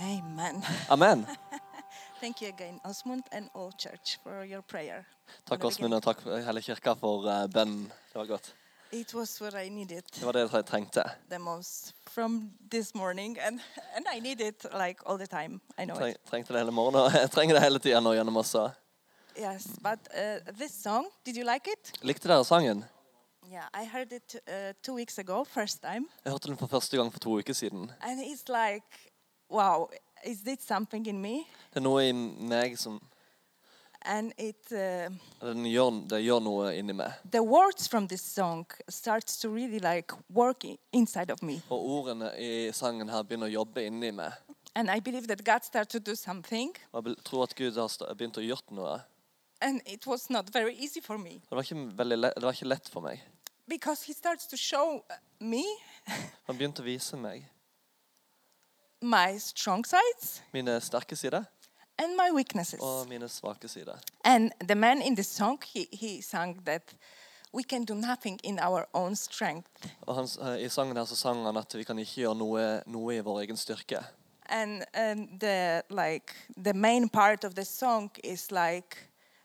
Amen. Amen. Thank you again, Osmund and all church, for your prayer. Takk, Åsmund, og takk hele kirka for eh, bønnen. Det var godt. It was what I needed Det var det jeg trengte. the most from this morning, and, and I need it like all the time. I know Treng, it. trengte det hele morgenen, og jeg trenger det hele tida nå gjennom også. Yes, but uh, this song, did you like it? Likte dere sangen? Yeah, I heard it uh, two weeks ago, first time, Jeg hørte den for første gang for to uker siden. and it's like, wow, is this something in me? Det er noe i meg som And it, uh, den gjør, Det gjør noe inni meg. the words from this song starts to really like work i- inside of me, Og ordene i sangen her begynner å jobbe inni meg. and I believe that God started to do something. Og jeg be- tror at Gud har sta- begynt å gjøre noe. And it was not very easy for me Og Det var ikke, veldig lett, det var ikke lett for meg. because he starts to show uh, me Han begynte å vise meg my strong sides mine sterke sider and my weaknesses. og mine svake sider. And the man in the song, he, he sang that we can do nothing in our own strength. Og han, s- eh, I sangen her så sang han at vi kan ikke gjøre noe, noe i vår egen styrke. And, and the, like, the main part of the song is like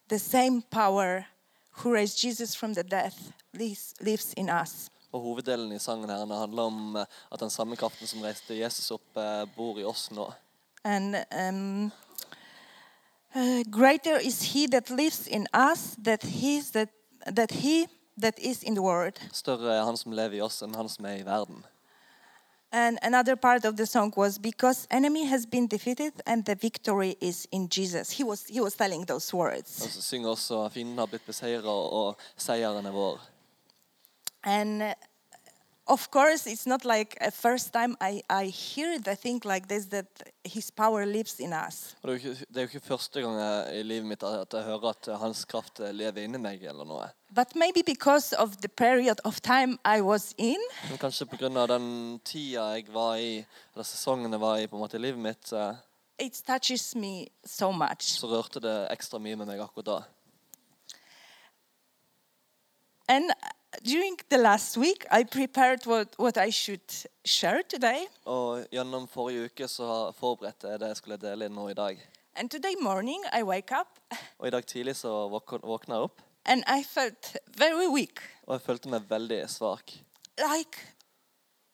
the same power who raised Jesus from the death lives, lives in us. Og Hoveddelen i sangen her den handler om eh, at den samme kraften som reiste Jesus opp, eh, bor i oss nå. And um, uh, greater is he that lives in us that he's that that he that is in the world. Større er han som lever i oss, enn han som er i verden. And another part of the song was because enemy has been defeated and the victory is in Jesus. He was he was telling those Han words. synger også at fienden har blitt beseiret, og seieren er vår. And uh, of course, it's not like a first time I, I hear the thing like this that his power lives in us. Og det, er jo ikke, det er jo ikke første gang jeg, i livet mitt at jeg hører at eh, hans kraft eh, lever inni meg. eller noe. But maybe because of the period of time I was in, Men kanskje pga. den tida jeg var i, eller sesongen jeg var i på en måte i livet mitt, eh, it touches me so much. så rørte det ekstra mye med meg akkurat da. And uh, during the last week, I prepared what, what I should share today. Og gjennom forrige uke så har- forberedte jeg det jeg skulle dele inn nå i dag. And today morning, I wake up Og i dag tidlig så våk- våkna jeg opp, and I felt very weak. og jeg følte meg veldig svak. Like,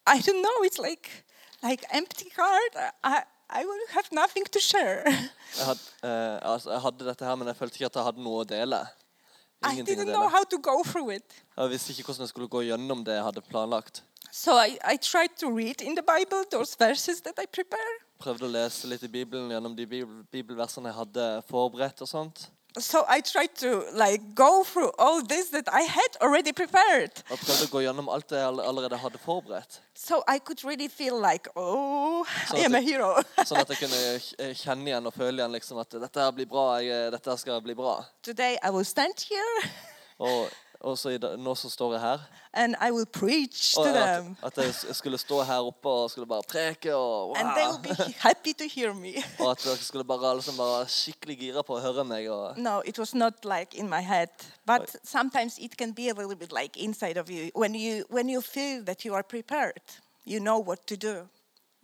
I don't know, it's like, like empty heart. I, I will have nothing to share. Jeg hadde, eh, altså, jeg hadde dette her, men jeg følte ikke at jeg hadde noe å dele. I Ingenting å didn't know dele. how to go through it. Jeg visste ikke hvordan jeg skulle gå gjennom det jeg hadde planlagt. So I, I tried to read in the Bible those verses that I prepare. Prøvde å lese litt i Bibelen gjennom de bibel, bibelversene jeg hadde forberedt. og sånt. So I tried to like go through all this that I had already prepared. Og prøvde å gå gjennom alt jeg all- allerede hadde forberedt. So I could really feel like, oh, I Something- am a hero. Sånn at jeg kunne k- eh, kjenne igjen og føle igjen liksom at dette her blir bra. Jeg, eh, dette her skal bli bra. Today I will stand here Og, og så i, da- nå så står jeg her. and I will preach Og to at, them. at jeg s- skulle stå her oppe og skulle bare preke. Og, And they will wow. be happy to hear me. og at dere skulle bare, alle som bare var skikkelig gira på å høre meg. og... No, it was not like in my head, but sometimes it can be a little bit like inside of you when you when you feel that you are prepared, you know what to do,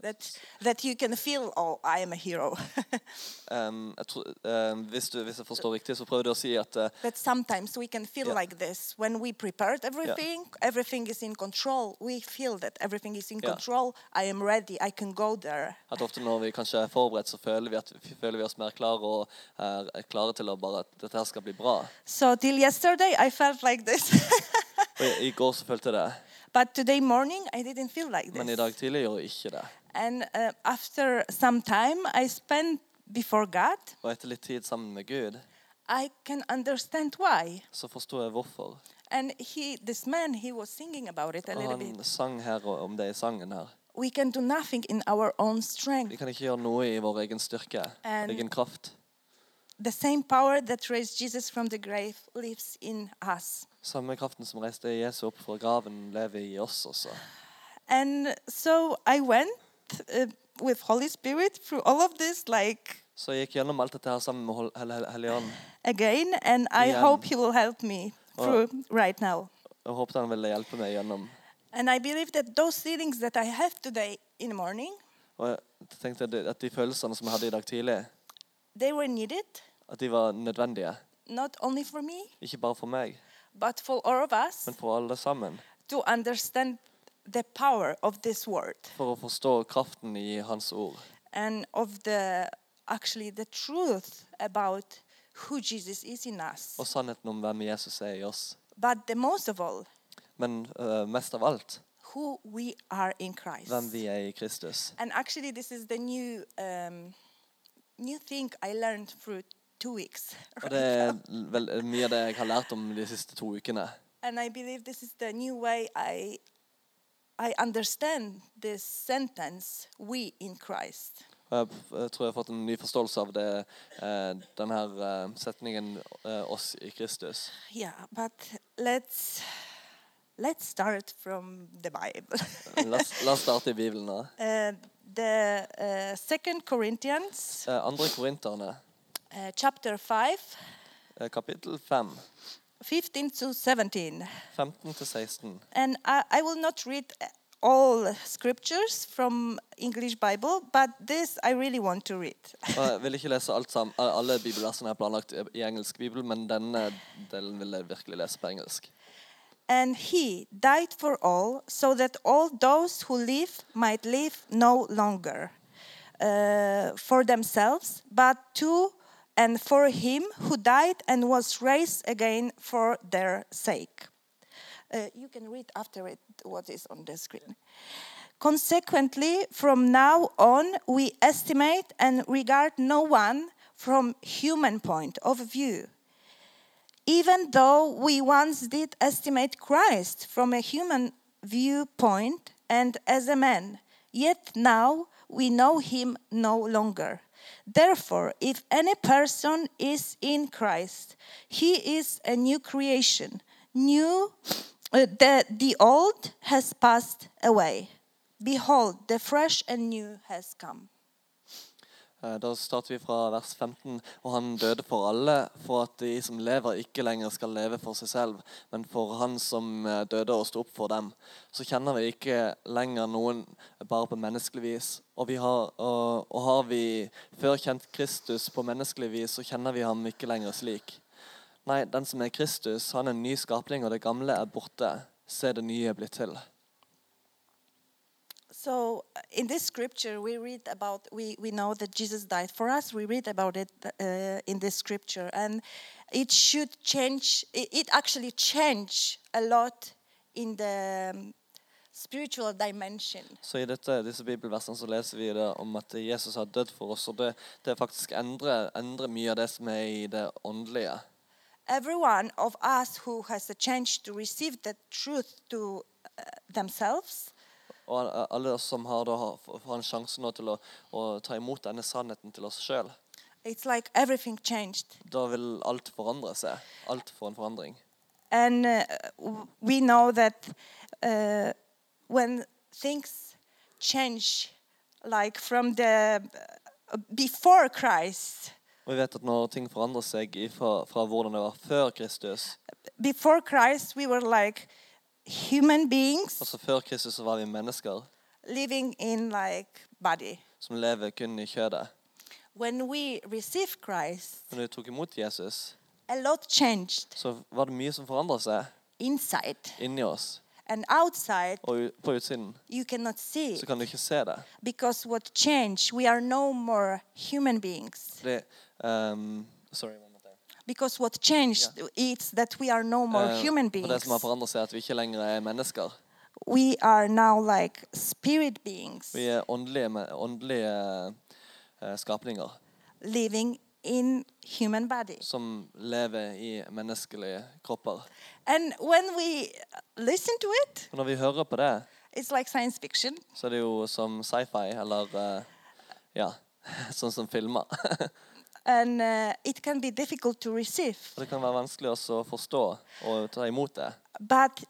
that that you can feel, oh, I am a hero. Ehm, jeg tror, ehm, hvis, du, hvis jeg forstår riktig, så prøver du å si at eh, that sometimes we can feel Yeah. like this when we prepared everything everything is in control we feel that everything is in Yeah. control i am ready i can go there at ofte når vi kanskje er forberedt, så føler vi, at, føler vi oss mer klare og er er klare til å bare at dette her skal bli bra. so till yesterday i felt like this Og i, I går så følte jeg det, but today morning i didn't feel like men i this dag tidlig gjorde jeg ikke det. and uh, after some time i spent before god Og etter litt tid sammen med Gud, i can understand why så forsto jeg hvorfor. and he this man he was singing about it a Og little han bit sang her og- om det i sangen her. we can do nothing in our own Vi strength kan ikke gjøre noe i vår egen styrke, And- egen kraft. the same power that raised jesus from the grave lives in us Samme kraften som reiste Jesu opp fra graven, lever i oss også. And so I went uh, with Holy Spirit through all of this, like Så jeg gikk gjennom alt dette her sammen med Hol- Hel- Hel- Hellige Ånd. again, and I Yeah. hope He will help me through Alright. right now. Jeg håpet han ville hjelpe meg gjennom. And I believe that those feelings that I have today in the morning, Og tenkte jeg det- at de følelsene som jeg hadde i dag tidlig, They were needed, at de var nødvendige. not only for me, Ikke bare for meg, but for all of us men for alle sammen. to understand the power of this word For å forstå kraften i Hans ord. and of the actually the truth about who Jesus is in us. Og sannheten om hvem Jesus er i oss. But the most of all, Men øh, mest av alt who we are in Christ. hvem vi er i Kristus. And actually, this is the new um, new thing I learned through two weeks. Og det er vel, mye av det jeg har lært om de siste to ukene. And I believe this is the new way I I understand this sentence "we in Christ." Og jeg f- jeg tror jeg har fått en ny forståelse av det, eh, denne her eh, setningen eh, 'oss i Kristus'. Yeah, but let's let's start from the Bible. La oss, la oss starte i Bibelen. da. uh, the uh, Second Corinthians, Eh, Andre Korinterne, uh, chapter 5, eh, kapittel 5, 15 to 17. 15-16. And I, I will not read uh, all scriptures from English Bible, but this I really want to read. Og Jeg vil ikke lese alt sammen, eh, alle bibelversene jeg har planlagt i i engelsk bibel, men denne delen vil jeg virkelig lese på engelsk. And he died for all, so that all those who live might live no longer uh, for themselves, but to and for him who died and was raised again for their sake. Uh, you can read after it what is on the screen. Consequently, from now on, we estimate and regard no one from human point of view even though we once did estimate Christ from a human viewpoint and as a man, yet now we know him no longer. Therefore, if any person is in Christ, he is a new creation. New, uh, the, the old has passed away. Behold, the fresh and new has come. Eh, Da starter vi fra vers 15. Og han døde for alle, for at de som lever, ikke lenger skal leve for seg selv, men for han som eh, døde og sto opp for dem. Så kjenner vi ikke lenger noen bare på menneskelig vis. Og, vi har, og, og har vi før kjent Kristus på menneskelig vis, så kjenner vi ham ikke lenger slik. Nei, den som er Kristus, han er en ny skapning, og det gamle er borte. Se, det nye er blitt til. So uh, in this scripture, we read about we we know that Jesus died for us. We read about it uh, in this scripture, and it should change. It, it actually change a lot in the um, spiritual dimension. Så i dette, disse bibelversene så leser vi det om at Jesus har dødd for oss, og det, det faktisk endrer, endrer mye av det som er i det åndelige. Every one of us who has a chance to receive that truth to uh, themselves Og a- alle oss som har, da, har- får en sjanse nå til å, å ta imot denne sannheten til oss sjøl. it's like everything changed Da vil alt forandre seg. Alt får en forandring. and uh, w- we know that uh, when things change like from the uh, before christ Og vi vet at når ting forandrer seg ifra, fra hvordan det var før Kristus before christ we were like human beings Altså før Kristus så var vi mennesker living in like body som lever kun i kjødet. when we receive christ Men når vi tok imot Jesus, a lot changed så var det mye som forandra seg inside inni oss. and outside Og u- på utsiden you cannot see så kan du ikke se det. because what changed we are no more human beings Fordi ehm, Sorry. one more time. Because what changed is that we are no more Eh, human for det beings. som har forandret seg, er at vi ikke lenger er mennesker. We are now like spirit beings Vi er åndelige, me- åndelige eh, skapninger living in human bodies. som lever i menneskelige kropper. And when we listen to it, Og når vi hører på det, it's like science fiction. så er det jo som sci-fi, eller eh, ja, sånn som filmer. Og And uh, it can be difficult to receive. det kan være vanskelig også å forstå og ta imot det. But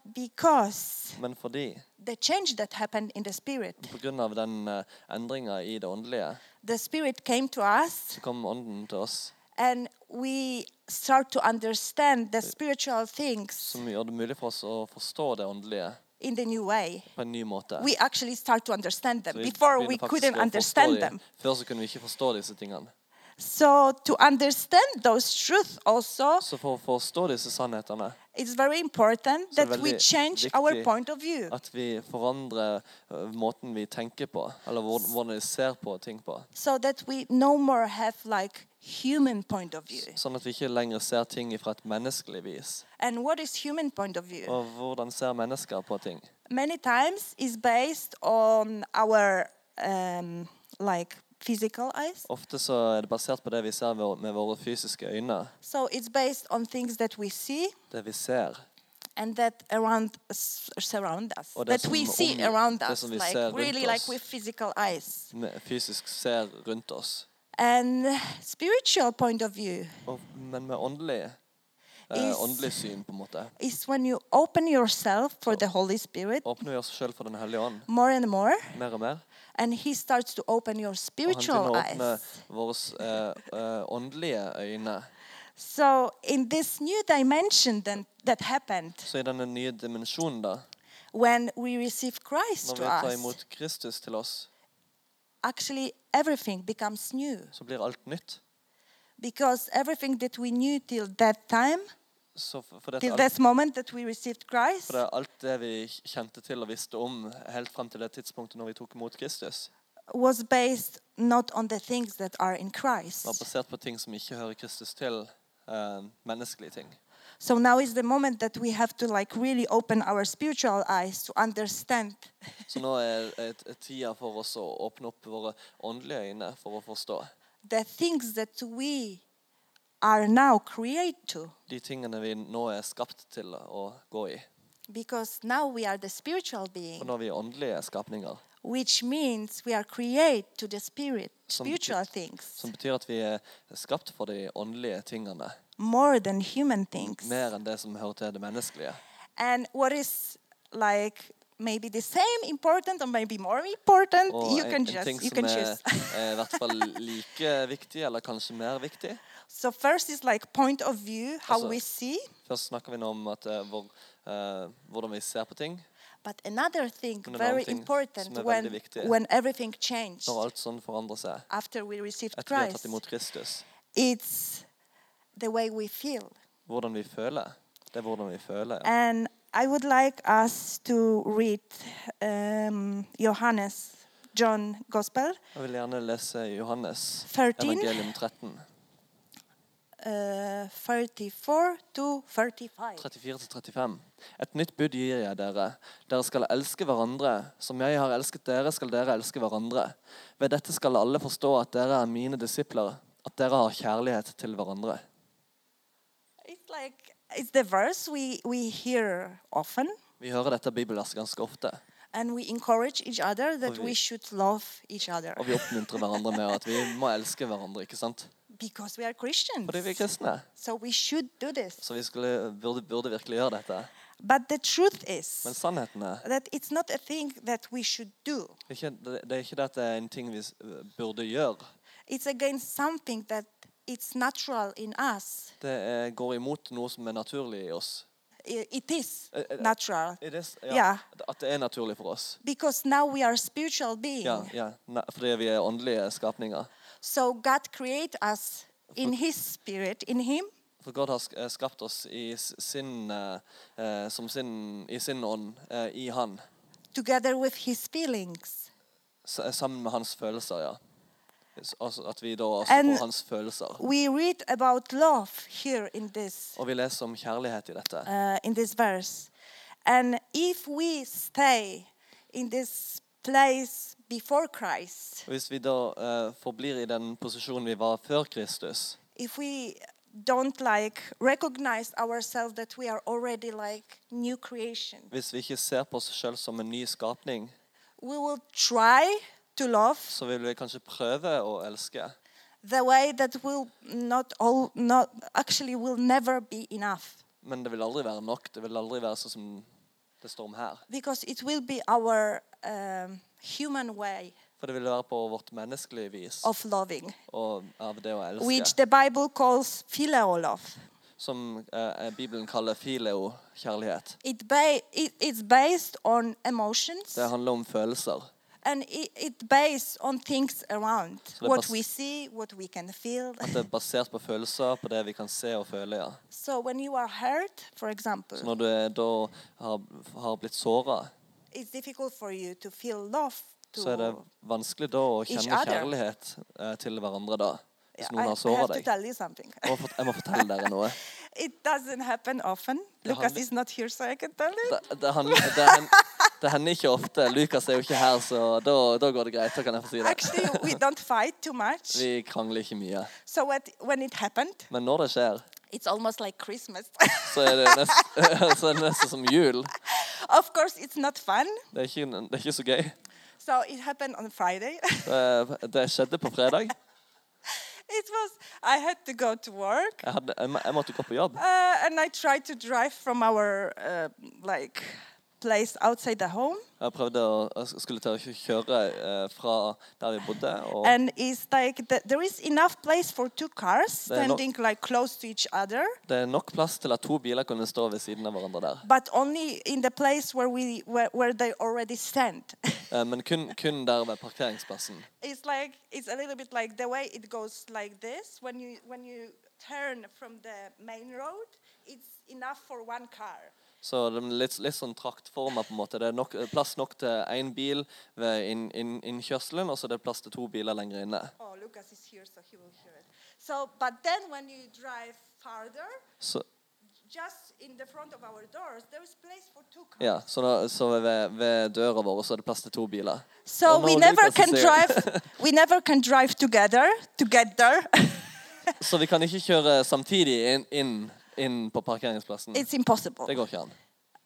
because Men fordi, the change that happened in the spirit, på grunn av den eh, endringen i det åndelige, the spirit came to us så kom ånden til oss, and we start to understand the spiritual things som gjør det mulig for oss å forstå det åndelige. in the new way, på en ny måte. we actually start to understand them. Så vi Before, begynner we faktisk couldn't å forstå understand de. them. Før så kunne vi ikke forstå disse tingene. So, to understand those truths also, Så for å forstå disse sannhetene, it's very important Så that we veldig change our viktig point of view. at vi forandrer eh, måten vi tenker på, eller hvor- hvordan vi ser på ting på, so that we no more have like human point of view sånn at vi ikke lenger ser ting fra et menneskelig vis. and what is human point of view Og hvordan ser mennesker på ting? many times is based on our um, like physical eyes Ofte så er det basert på det vi ser vår- med våre fysiske øyne, so it's based on things that we see det vi ser, and that around us, surround us Og det that we som see omgir- around det us som vi like ser rundt really oss. like with physical eyes med- fysisk ser rundt oss. and spiritual point of view Og, men med åndelig, Is- eh, åndelig syn, på en måte. is when you open yourself for the holy spirit Åpner vi oss sjøl for Den hellige ånd more and more mer og mer? and he starts to open your Og han begynner spiritual å åpne eyes. våre eh, eh, åndelige øyne. So in this new dimension then that happened Så i denne nye dimensjonen, da, when we receive Christ når to vi tar us, imot Kristus til oss, actually everything becomes new så blir alt nytt. because everything that we knew till that time, Så for, for, det, till alt, this moment that we received Christ, for det, alt det vi kjente til og visste om helt frem til det tidspunktet når vi tok imot Kristus, was based not on the things that are in var Christ. basert på ting som ikke hører Kristus til, eh, menneskelige ting. So now is the moment that we have to like really open our spiritual eyes to understand Så nå er, er, er tida for oss å åpne opp våre åndelige øyne for å forstå the things that we are now create to. de tingene vi nå er skapt til å gå i. Because now we are the spiritual being, For nå er vi åndelige skapninger. which means we are created to the spirit, Som spiritual betyr- things, Som betyr at vi er skapt for de åndelige tingene, more than human things. mer enn det som hører til det menneskelige. And what is like maybe the same important or maybe more important, Og you en, can en ting just you som can er, choose. er i hvert fall like viktig, eller kanskje mer viktig so first is like point of view, how Also- we see. Først snakker vi nå om at, eh, hvor, eh, hvordan vi ser på ting. But another thing Men en annen very ting som important er veldig when viktig. when everything changed Når alt sånn forandrer seg after we received etter vi har Christ, tatt imot Kristus. it's the way we feel. Hvordan vi føler. Det er hvordan vi føler. ja. And I would like us to read um, Johannes, John Gospel, Jeg vil gjerne lese Johannes 13. evangelium 13, uh, 34 to 35. 34-35. Et nytt bud gir jeg dere. Dere skal elske hverandre. Som jeg har elsket dere, skal dere elske hverandre. Ved dette skal alle forstå at dere er mine disipler, at dere har kjærlighet til hverandre. It's like it's the verse we, we hear often, Vi hører dette bibelverset ganske ofte, and we encourage each other that vi- we should love each other og vi oppmuntrer hverandre med at vi må elske hverandre, ikke sant? because we are Christians. Fordi vi er kristne. So we should do this. Så vi skulle, burde, burde virkelig gjøre dette. But the truth is Men sannheten er that it's not a thing that we should do. ikke, det er ikke det at det er en ting vi s- burde gjøre. It's against something that it's natural in us. Det er, går imot noe som er naturlig i oss. I- it is Eh, eh, natural It is, ja, Ja. At det er naturlig for oss. because now we are spiritual beings. Ja, ja. Ne, fordi vi er åndelige skapninger. So God created us in His spirit, in Him, For Gud har sk- eh, skapt oss i s- sin, eh, eh, som sin, i sin ånd, eh, i Han. together with His feelings. S eh, sammen med Hans følelser, ja. S- Altså at vi da også And- får Hans følelser. We read about love here in this Og vi leser om kjærlighet i dette. uh, in this verse, and if we stay in this place before Christ, Og Hvis vi da eh, forblir i den posisjonen vi var før Kristus, if we don't like recognize ourselves that we are already like new creation, hvis vi ikke ser på oss sjøl som en ny skapning, we will try to love så vil vi kanskje prøve å elske. the way that will not all not actually will never be enough Men det vil aldri være nok. Det vil aldri være sånn som det står om her. because it will be our um, human way For det vil være på vårt menneskelige vis of loving og av det å elske. which the bible calls phileo love som eh, Bibelen kaller fileo-kjærlighet. It ba- it, it's based on emotions Det handler om følelser. and it, it based on things around det what bas- we see, what we can feel. At det er basert på følelser, på det vi kan se og føle. ja. so when you are hurt, for Så example, når du er, da har, har blitt såra, it's difficult for you to feel love. så er det To, vanskelig da å Each kjenne other. kjærlighet eh, til hverandre da. Yeah, Hvis I, noen har I have såra to deg. tell you something. Jeg må, fort- jeg må fortelle dere noe. It doesn't happen often. Det Lucas handler- is not here, so I can tell you. Det, det, handler, det, hen- det hender ikke ofte. Lukas er jo ikke her, så da, da går det greit. Da kan jeg få si det. Actually, we don't fight too much. Vi krangler ikke mye. So what, when it happened, Men når det skjer, it's almost like Christmas. så er det nesten, så er det nesten som jul. of course, it's not fun. Det er ikke, det er ikke så gøy. So it happened on Friday. Det, det skjedde på fredag. it was I had to go to work, Jeg, hadde, jeg, må- jeg måtte gå på jobb. uh, and I tried to drive from our uh, like place outside the home, Jeg prøvde å jeg skulle til å kjø- kjøre eh, fra der vi bodde. Og and it's like the, there is enough place for two cars They're not- standing like close to each other, det er nok plass til at to biler kunne stå ved siden av hverandre der. but only in the place where we where, where they already stand. Eh, Men kun, kun der ved parkeringsplassen. it's like it's a little bit like the way it goes like this when you when you turn from the main road, it's enough for one car. Så det er litt, litt sånn traktforma, på en måte. Det er nok, plass nok til én bil ved inn- inn- innkjørselen, og så er det plass til to biler lenger inne. Oh, Lucas is here, so he will hear it. So, but then when you drive farther, Så, just in the front of our doors, there is place for two cars. ja, så, da, så ved, ved døra vår så er det plass til to biler. So Og når we never Oh, Lucas can sier- drive. we never can drive together to get there. Så vi kan ikke kjøre samtidig inn, inn, inn på parkeringsplassen. it's impossible. Det går ikke an.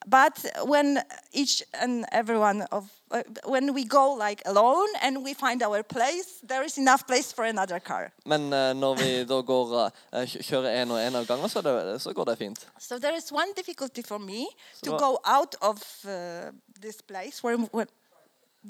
But when each and everyone of uh, when we go like alone and we find our place, there is enough place for another car. Men eh, når vi da går, eh, kjø- kjører én og én av gangen, så, er det, så går det fint. So there is one difficulty for me to So- go out of uh, this place where, where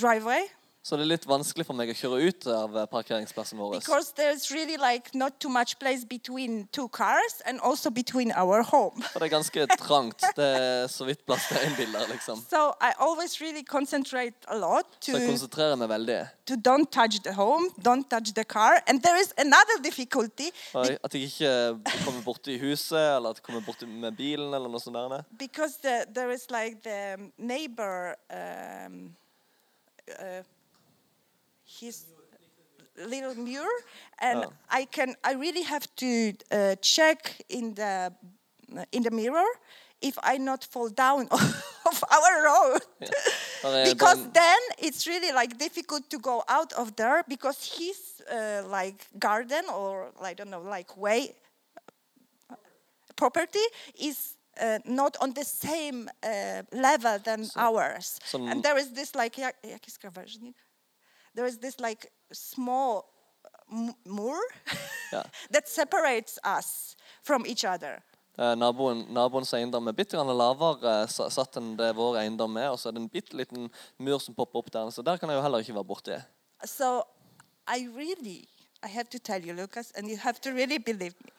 driveway Så det er litt vanskelig for meg å kjøre ut av eh, parkeringsplassen vår. because there's really like not too much place between two cars and also between our home. For det er ganske trangt. Det er så vidt plass til én bil der, liksom. So I always really concentrate a lot Så to, jeg konsentrerer meg veldig. to don't touch the home, don't touch the car. And there is another difficulty Og jeg- At jeg ikke kommer borti huset, eller at jeg kommer borti med bilen, eller noe sånt. der. because the, there is like the neighbor um, uh, his little mirror and Oh. i can i really have to uh, check in the in the mirror if i not fall down of our road Der er because den- then it's really like difficult to go out of there because his uh, like garden or i don't know like way property is uh, not on the same uh, level than ours. so n- and there is this like jak- jaki skraważnik? there is this like small uh, m- moor Ja. that separates us from each other. eh, naboen, naboens eiendom er bitte grann lavere eh, sa- satt enn det vår eiendom er, og så er det en bitte liten mur som popper opp der, så der kan jeg jo heller ikke være borti. So I really, I have to tell you, Lucas, and you have to really believe me.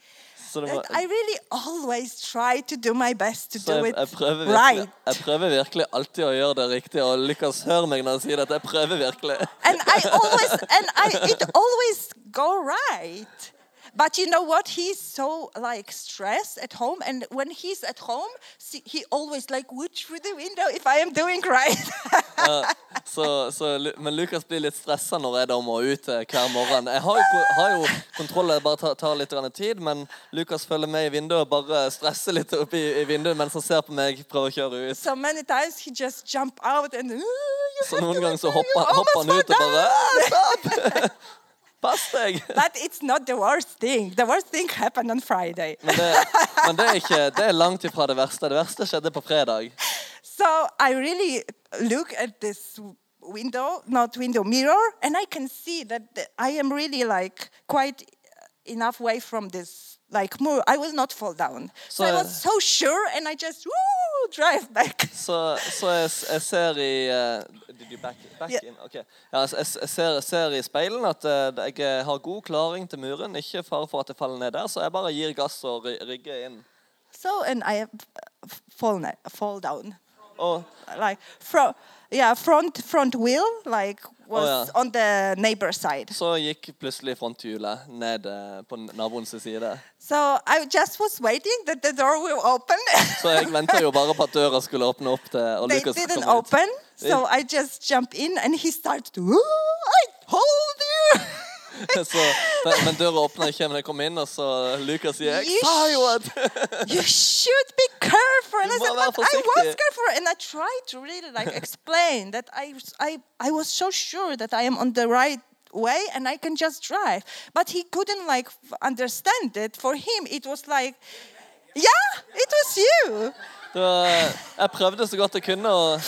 Så, det That må, Eh, I really always try to do my best to så do jeg, it jeg, prøver virkelig, right. jeg prøver virkelig alltid å gjøre det riktig, og Lukas, hør meg når jeg sier dette. Jeg prøver virkelig. and I always and I it always go right. But you know what? He's so like stressed at home, and when he's at home, see, he always like would through the window if I am doing right. Ja, så, så, Lu- men Lukas blir litt stressa når jeg da må ut eh, hver morgen. Jeg har jo, ko- har jo kontroll, jeg bare tar, tar litt grann tid, men Lukas følger med i vinduet og bare stresser litt oppi i vinduet mens han ser på meg prøver å kjøre ut. so many times he just jump out and. "Ooh, you Så have noen to ganger do- så you hopper, hopper han almost ut og fall bare down." «Ah, Stopp! Pass deg! But it's not the worst thing. The worst thing happened on Friday. Men det, men det er ikke Det er langt ifra det verste. Det verste skjedde på fredag. So I really look at this w- window, not window, mirror, and I can see that the- I am really like quite enough way from this like moor. I will not fall down. So, I So- was so sure, and I just woo, drive back. Så, så jeg, s- jeg ser i eh, Did you back, back Ja. in? Ok. Ja, jeg, s- jeg, ser, jeg ser i speilen at eh, jeg har god klaring til muren. Ikke fare for at jeg faller ned der, så jeg bare gir gass og ry- rygger inn. So, and I uh, fall, na- fall down. Og, Like, fro- yeah, front, front wheel, like, was yeah. on the neighbor's side. Så gikk plutselig fronthjulet ned eh, på naboens side. So I just was waiting that the door will open. Så jeg venta jo bare på at døra skulle åpne opp til og they Lucas didn't kom ut. open, so I just jump in, and he starts to, "Ooh, I told Så, men, men døra åpna ikke, men jeg kom inn, og så Lucas sier You jeg sa jo at you, you should be careful. And I You said, were but I was forsiktig." careful, and I tried to really like explain that I, I, I was so sure that I am on the right way and I can just drive, but he couldn't like f- understand it. For him, it was like, yeah, it was you. det var, Jeg prøvde så godt jeg kunne å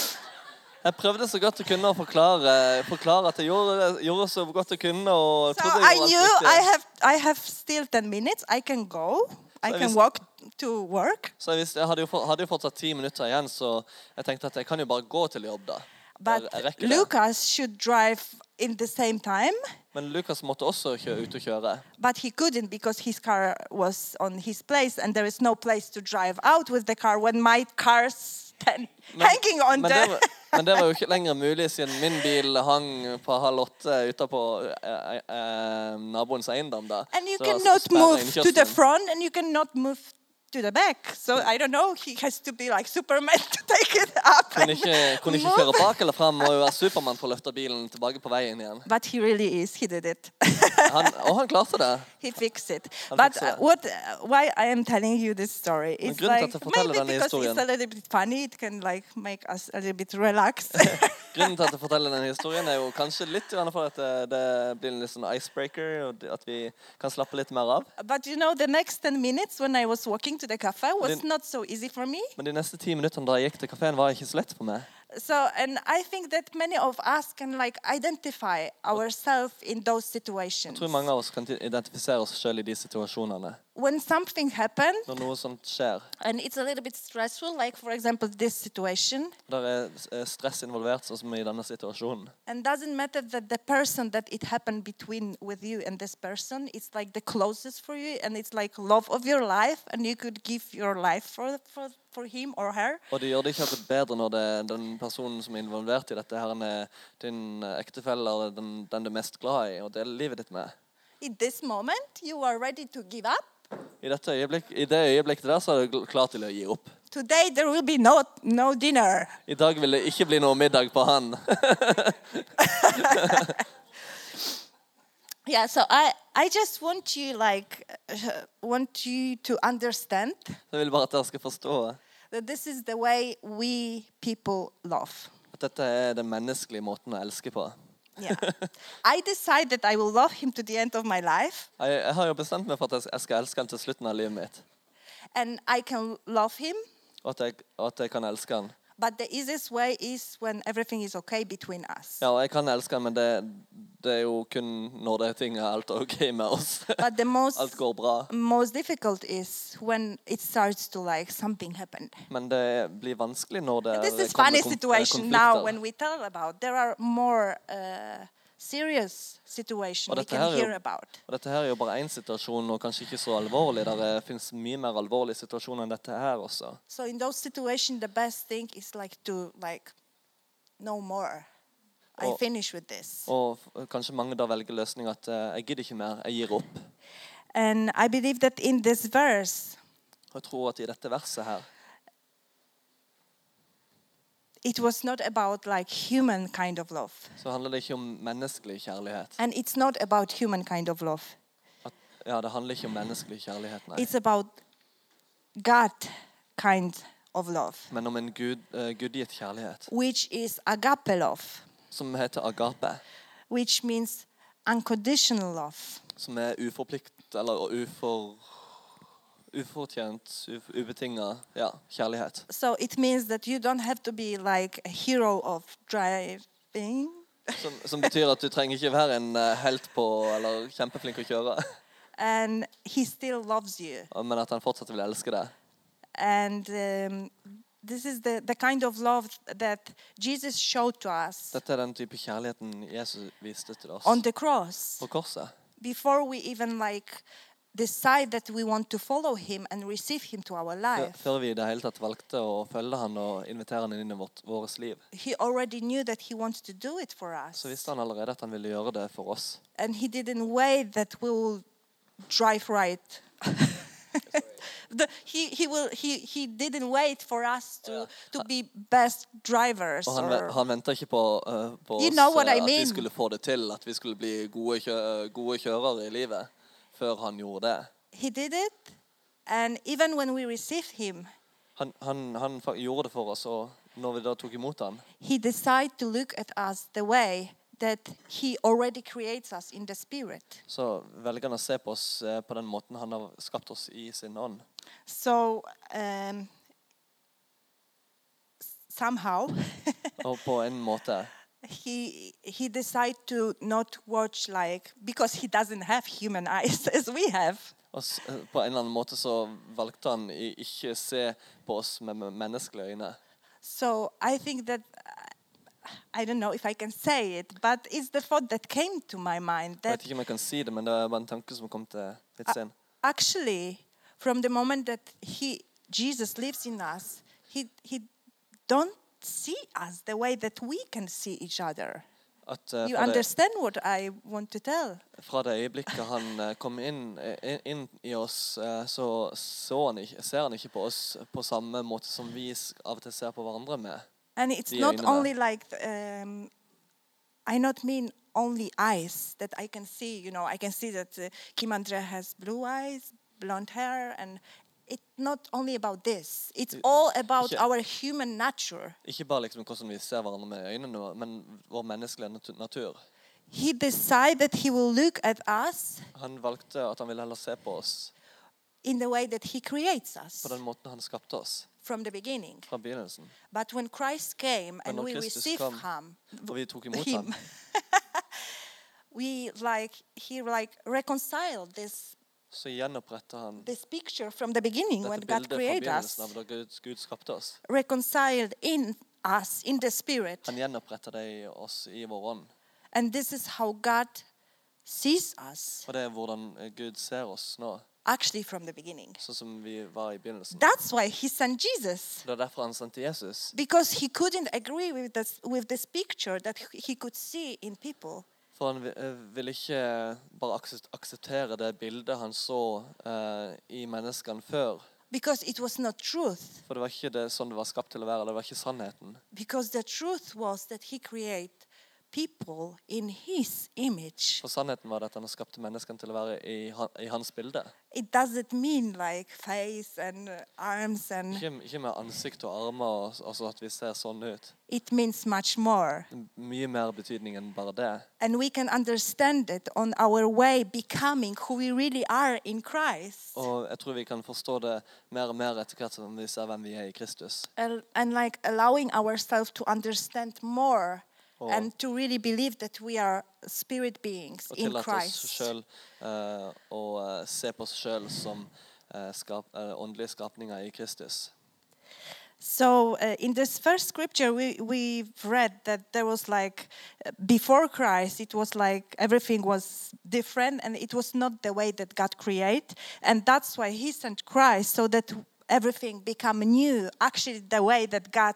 jeg prøvde så godt jeg kunne å forklare, forklare at jeg gjorde, gjorde så godt jeg kunne. og So trodde I jeg gjorde alt knew riktig. I have I have still 10 minutes. I can go. I So can is- walk to work. Så jeg, visste, jeg hadde, jo, for- hadde jo fortsatt ti minutter igjen, så jeg tenkte at jeg kan jo bare gå til jobb, da. But jeg rekker det. Lucas should drive in the same time, Men Lucas måtte også kjø- ut og kjøre. but he couldn't because his car was on his place and there is no place to drive out with the car when my car's ten, hanging on men, the det var, men det var jo ikke lenger mulig siden min bil hang på halv åtte utapå eh, eh, naboens eiendom. da. and you Så det var cannot sperret move to the innkjørselen. front and you cannot move to the back. So I don't know, he has to be like Superman to take it up. Kunne and ikke, kunne ikke move. kjøre bak eller fram. Må jo være Supermann for å løfte bilen tilbake på veien igjen. But he really is. He did it. Han, og han klarte det. he fixed it. I'll but fix uh, that. what? Uh, why I am telling you this story? It's grunnen til like at jeg forteller maybe denne because historien- it's a little bit funny. It can like make us a little bit relaxed. Grunnen til at jeg forteller denne historien, er jo kanskje litt grann for at eh, det blir en litt sånn icebreaker, og at vi kan slappe litt mer av. but you know, the next ten minutes when I was walking to the cafe was Then- not so easy for me. Men de neste ti minuttene da jeg gikk til kafeen, var ikke så lett for meg. So, and I think that many of us can like identify ourselves in those situations. Jeg tror mange av oss kan identifisere oss sjøl i de situasjonene. When something happened Når noe sånt skjer, and it's a little bit stressful, like for example this situation, der er eh, stress involvert, sånn som i denne situasjonen. And doesn't matter that the person that it happened between with you and this person, it's like the closest for you, and it's like love of your life, and you could give your life for for, for him or her. Og det gjør det ikke akkurat bedre når det, den personen som er involvert i dette, her han er din eh, ektefelle eller den, den du er mest glad i, og deler livet ditt med. In this moment, you are ready to give up. I, dette øyeblikk, I det øyeblikket der så er du gl- klar til å gi opp. Today there will be no no dinner. I dag vil det ikke bli noe middag på han. Yeah. So I I just want you like uh, want you to understand Jeg vil bare at dere skal forstå that this is the way we people love. at dette er den menneskelige måten å elske på. Yeah. I decided I will love him to the end of my life. Jeg, jeg har jo bestemt meg for at jeg s- jeg skal elske han til slutten av livet mitt. and I can love him. Og at jeg, og at jeg kan elske han. But the easiest way is when everything is okay between us. Ja, og jeg kan elske han, men det, det er jo kun når det er ting er alt OK med oss. But the most Alt går bra. most difficult is when it starts to like something happened. Men det blir vanskelig når det This is kommer funny konf- eh, situation now konflikter. when we tell about. There are more uh, serious situation Og we dette her can er jo- hear about. Og dette her er jo bare én situasjon, og kanskje ikke så alvorlig. Det fins mye mer alvorlige situasjoner enn dette her også. So in those situations, the best thing is like to like, no more. I Or- finish with this. Og f- kanskje mange da velger løsninga at eh, jeg gidder ikke mer, jeg gir opp. And I believe that in this verse, Og jeg tror at i dette verset her it was not about like human kind of love. så handler det ikke om menneskelig kjærlighet. And it's not about human kind of love. At, ja, det handler ikke om menneskelig kjærlighet, nei. It's about God kind of love, Men om en gud, eh, gudgitt kjærlighet which is agape love, som heter agape. which means unconditional love. Som er uforplikt eller ufor, ufortjent, uf, ubetinga ja, kjærlighet. So it means that you don't have to be like a hero of driving, Som, som betyr at du trenger ikke være en eh, helt på eller kjempeflink å kjøre, and He still loves you. men at han fortsatt vil elske deg. And um, this is the, the kind of love that Jesus showed to us Dette er den type kjærligheten Jesus viste til oss on the cross på korset. before we even like decide that we want to follow him and receive him to our Før, life. før vi i det hele tatt valgte å følge han og invitere han inn i vårt, vårt liv, He already knew that he wants to do it for us. så visste han allerede at han ville gjøre det for oss. and he did in a way that will drive right. the, he, he will he, he didn't wait for us to, to be best drivers Og han, or, ve- han venta ikke på, eh, på You oss know what eh, I at mean. vi skulle få det til, at vi skulle bli gode, kjø gode kjørere i livet, før han gjorde det. he did it and even when we received him Han, han, han fa- gjorde det for oss, og når vi da tok imot han, he decided to look at us the way that he already creates us in the spirit så velger han å se på oss eh, på den måten han har skapt oss i sin ånd. so um, somehow Og på en måte he he decided to not watch like because he doesn't have human eyes as we have og s- eh, På en eller annen måte så valgte han i- ikke se på oss med med menneskelige øyne. so i think that i don't know if i can say it but it's the thought that came to my mind Jeg vet that ikke om jeg kan si det, men det er bare en tanke som kom til litt sen. actually from the moment that he jesus lives in us he he don't see us the way that we can see each other At, eh, you fra det- understand what i want to tell fra det øyeblikket han eh, kom inn, eh, inn i oss, eh, så, så han ikke, ser han ikke på oss på samme måte som vi s- av og til ser på hverandre med. And it's The not arena. only like um, I not mean only eyes that I can see. You know, I can see that uh, Kim Andre has blue eyes, blonde hair, and it's not only about this. It's all about yeah. our human nature. Ikke bare liksom hvordan vi ser hverandre med øynene, nå, men vår menneskelige natu- natur. He decided that he will look at us Han valgte at han ville heller se på oss in the way that he creates us på den måten han skapte oss from the beginning. fra begynnelsen. But when Christ came Men and når we Kristus received kom, him, Og vi tok imot Him. ham. we like he like reconciled this Så gjenoppretta han this picture from the beginning when dette God bildet fra created us, begynnelsen av da Gud, Gud skapte oss. reconciled in us, in the Spirit. Han gjenoppretta det i oss i vår ånd. And this is how God sees us, Og det er hvordan eh, Gud ser oss nå, actually, from the beginning. sånn som vi var i begynnelsen. That's why He sent Jesus, Det er derfor han sendte Jesus. because He couldn't agree with this, with this picture that He could see in people. For han vi- eh, ville ikke bare aksep- akseptere det bildet han så eh, i menneskene før. Because it was not truth, For det var ikke det sånn det var skapt til å være. Det var ikke sannheten. because the truth was that He created people in His image. For sannheten var det at han skapte menneskene til å være i, han, i hans bilde. It doesn't mean like face and uh, arms and Ikke, ikke med ansikt og armer, og s- altså at vi ser sånn ut. it means much more. Det er Mye mer betydning enn bare det. And we can understand it on our way becoming who we really are in Christ. Og jeg tror vi kan forstå det mer og mer etter hvert som vi ser hvem vi er i Kristus. And, and like allowing ourselves to understand more Oh. and to really believe that we are spirit beings Og in tillate oss Christ. sjøl å eh, se på oss sjøl som eh, skap, eh, åndelige skapninger i Kristus. So uh, in this first scripture we we've read that there was like uh, before Christ it was like everything was different and it was not the way that God created and that's why he sent Christ so that everything become new actually the way that God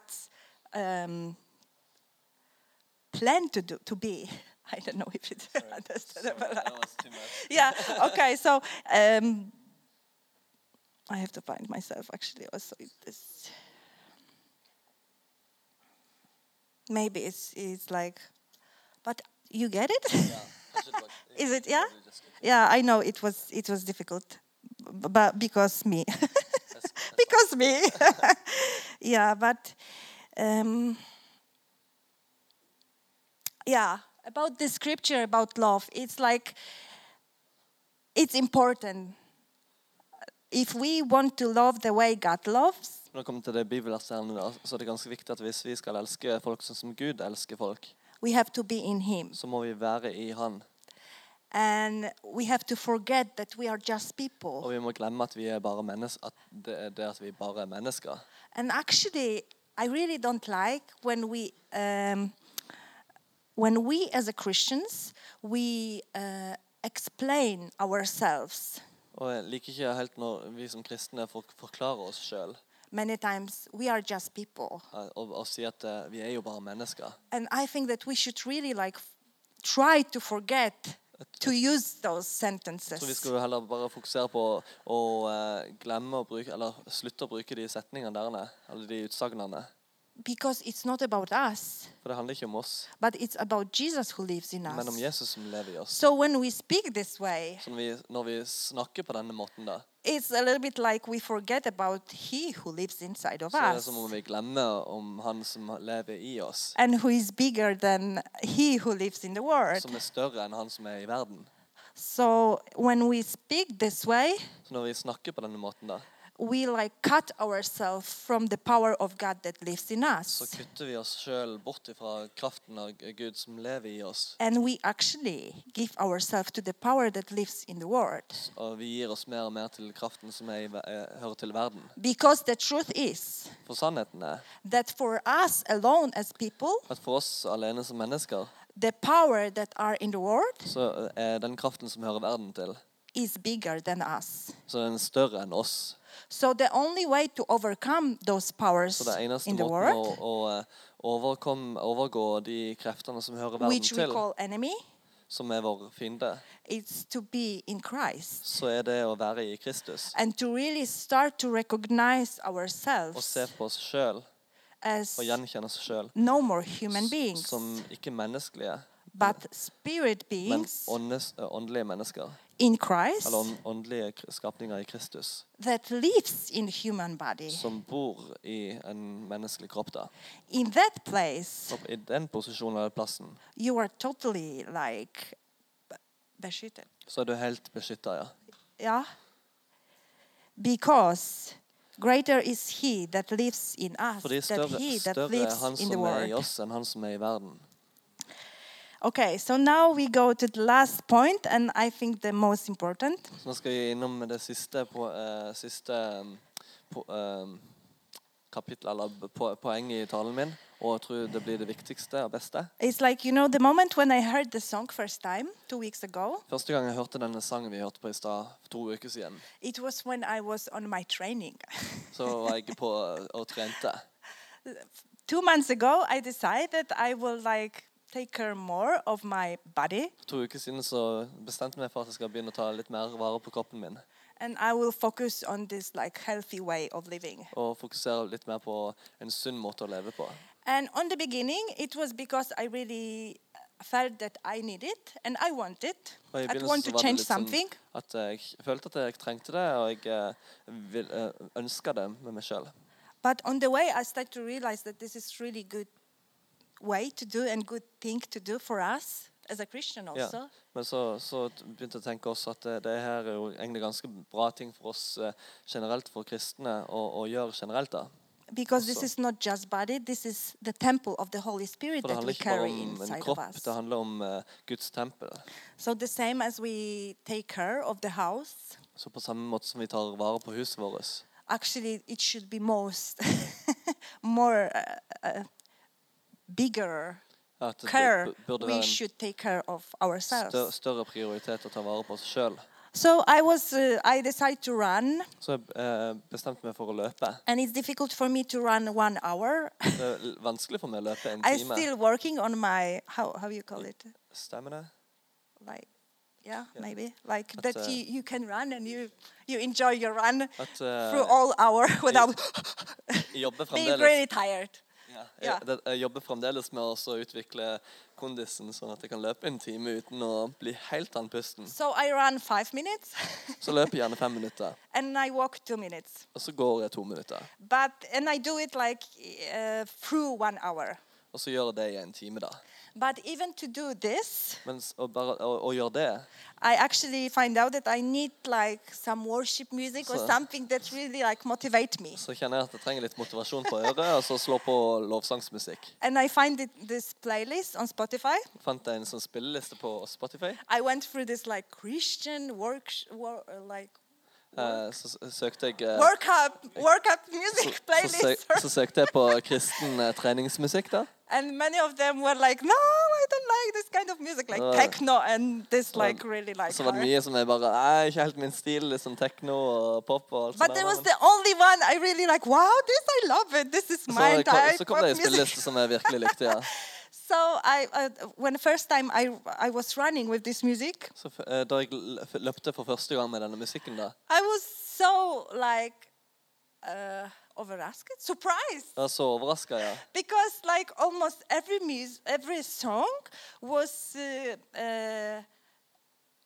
um, planned to do, to be I don't know if it's understandable yeah okay so um i have to find myself actually also in this maybe it's it's like but you get it Is it- yeah? yeah i know it was it was difficult b- but because me because me yeah but um yeah about the scripture about love it's like it's important if we want to love the way god loves Når det kommer til det bibelverset her nå, da, så er det ganske viktig at hvis vi skal elske folk sånn som Gud elsker folk, we have to be in him så må vi være i Han. And we have to forget that we are just Og people. vi må glemme at, vi er bare mennes at det er det at vi bare er mennesker. And actually, I really don't like when we, um, when we as a Christians, we uh, explain ourselves. Og jeg liker ikke helt når vi som kristne for, forklarer oss sjøl Many times we are just people. og, og sier at eh, vi er jo bare mennesker. And I think that we should really like f- try to forget to use those Så vi sentences. skulle heller bare fokusere på å, å eh, glemme å bruke, eller slutte å bruke de setningene der, nei, eller de utsagnene. Because it's not about us, For det handler ikke om oss, but it's about Jesus who lives in men om us. Jesus som lever i oss. So when we speak this way, Så når vi, når vi snakker på denne måten, da, it's a little bit like we forget about He who lives inside of så er det us som om vi glemmer om Han som lever i oss, and who is bigger than He who lives in the world. som er større enn Han som er i verden. So when we speak this way, Så når vi snakker på denne måten, da, we like cut ourselves from the power of God that lives in så us. kutter vi oss sjøl bort ifra kraften av Gud som lever i oss. And we actually give ourselves to the power that lives in the world. Og vi gir oss mer og mer til kraften som er i, ver- eh, hører til verden. Because the truth is For sannheten er that for us alone as people, at for oss alene som mennesker, the power that are in the world så er den kraften som hører verden til, is bigger than us. så den er større enn oss. So the only way to overcome those powers Så det eneste in the måten å, world, å eh, overkomme, overgå de kreftene som hører verden which we til, call enemy, som er vår fiende, is to be in Christ så er det å være i Kristus. and to really start to recognize Og ourselves se på oss sjøl as og gjenkjenne oss sjøl no more human beings, som ikke menneskelige, but spirit men beings åndes, eh, åndelige mennesker. in Christ Eller ånd- åndelige kr- skapninger i Kristus, that lives in human body. som bor i en menneskelig kropp. da. In that place, Så I den posisjonen eller plassen you are totally like b- beskyttet. så er du helt beskytta, ja. Yeah? Because greater is he that lives in us Fordi than større, he that større er lives han in the som er i world. oss, enn han som er i verden. Okay, so now we go to the last point, and I think the most important. Så nå skal vi innom det siste, på, eh, siste um, på, um, kapittel, eller b- po poenget i talen min, og jeg tror det blir det viktigste og beste. It's like, you know, the moment when I heard the song first time, two weeks ago, Første gang jeg hørte denne sangen vi hørte på i stad, for to uker siden, it was when I was on my training. så var jeg på eh, og trente. Two months ago, I decided I will like take care more of my body For to uker siden så bestemte jeg meg for at jeg skal begynne å ta litt mer vare på kroppen min. and I will focus on this like healthy way of living. Og fokusere litt mer på en sunn måte å leve på. And on the beginning, it was because I really felt that I need it and I want it. Og i I begynnelsen want så to var det change litt sånn something. At jeg følte at jeg trengte det, og jeg eh, vil, eh, ønska det med meg sjøl. But on the way, I started to realize that this is really good way to do and good thing to do for us as a Christian Ja. also. Men så, så t- begynte jeg å tenke også at eh, det her er jo egentlig ganske bra ting for oss eh, generelt, for kristne, å, å gjøre generelt. da. Because this Also. is not just body, this is the temple of the Holy Spirit For det that we handler ikke bare carry om en inside of kropp, us. det handler om eh, Guds tempel. So the same as we take care of the house, Så på samme måte som vi tar vare på huset vårt, actually it should be most more uh, uh, bigger at det care bu- burde we være en should take care of ourselves. stør, større prioritet å ta vare på oss sjøl. so I was uh, I decided to run Så jeg eh, bestemte meg for å løpe. and it's difficult for me to run 1 hour. Det er l- vanskelig for meg å løpe en I'm time. still working on my how how you call it? Stemmer det? Like yeah, Yeah. maybe like But, that uh, you, you can run and you you enjoy your run At through uh, all hour without jeg jobber being fremdeles really tired. ja, Ja. jeg, det- jeg jobber fremdeles med å så utvikle kondisen, sånn at jeg kan løpe en time uten å bli helt andpusten. So I run five minutes Så løper jeg gjerne fem minutter, and I walk two minutes. og så går jeg to minutter. But and I do it like uh, through one hour. Og Og så gjør det i en time, da. But even to do this, Men s- å bare å, å gjøre det I actually find out that I need like some worship music or So- something that really like motivate me. så kjenner jeg at jeg trenger litt motivasjon på øret, og så slå på lovsangsmusikk. And I find it, this playlist on Spotify. Fant jeg en sånn spilleliste på Spotify. I went through this like Christian work, wor, uh, like Eh, så s- søkte jeg eh, workup, workup music så, søk, playlist, så søkte jeg på kristen eh, treningsmusikk, da. and many of them were like, "No, I don't like this kind of music, like Uh, techno and this so var- like really like." Så var det hard." mye som jeg bare Nei, ikke helt min stil. Litt sånn techno og pop og alt But sånt. there was der, men- the only one I really like. Wow, this I love it. This is Så, var my det, entire så kom pop det en music. spilleliste som jeg virkelig likte, ja. So I, uh, when the first time I I was running with this music, Så f- eh, da jeg l- f- løpte for første gang med denne musikken, da I was so like uh, overrasked, surprised. Jeg var så overraska, ja. because like almost every mus- every song was uh, uh,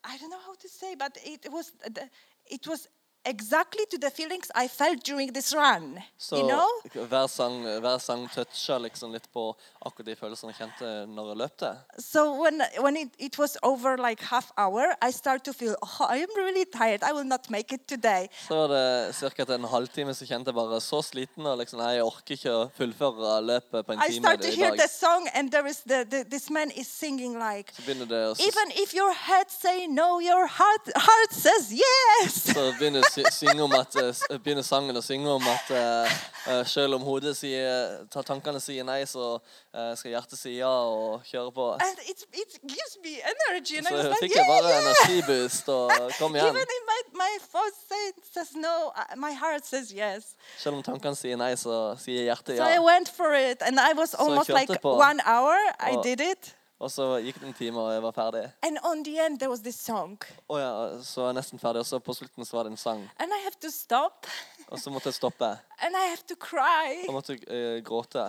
I don't know how to say, but it was uh, the- it was exactly to the feelings I felt during this run. Så you know, hver sang, hver sang toucha liksom litt på akkurat de følelsene jeg kjente når jeg løpte. so when when it, it was over like half hour, I start to feel oh, I am really tired. I will not make it today. Så var det ca. etter en halvtime så kjente jeg bare så sliten og liksom Nei, jeg orker ikke å fullføre løpet på en I time start to i hear dag. the song, and there is the, the this man is singing like. Så begynner det å s- Even if your head say no, your heart heart says yes. så begynner, sy synge om at, eh, s- begynner sangen å synge om at eh, eh, selv om hodet sier ta tankene sier nei, så eh, skal hjertet si ja og kjøre på. and it, it gives me energy. And I Så was like, fikk yeah, jeg bare yeah. energiboost og kom igjen. Even if my, my phone says, says no, I- my heart says yes. Selv om tankene sier nei, så sier hjertet So I ja. went for it. And I was almost kjørte like på. one hour. I Og- did it. Og så gikk det en time, og jeg var ferdig. And on the end, there was this song. Å ja, så var jeg nesten ferdig, og så på slutten så var det en sang. And I have to stop. Og så måtte jeg stoppe. And I have to cry. Og måtte eh, gråte.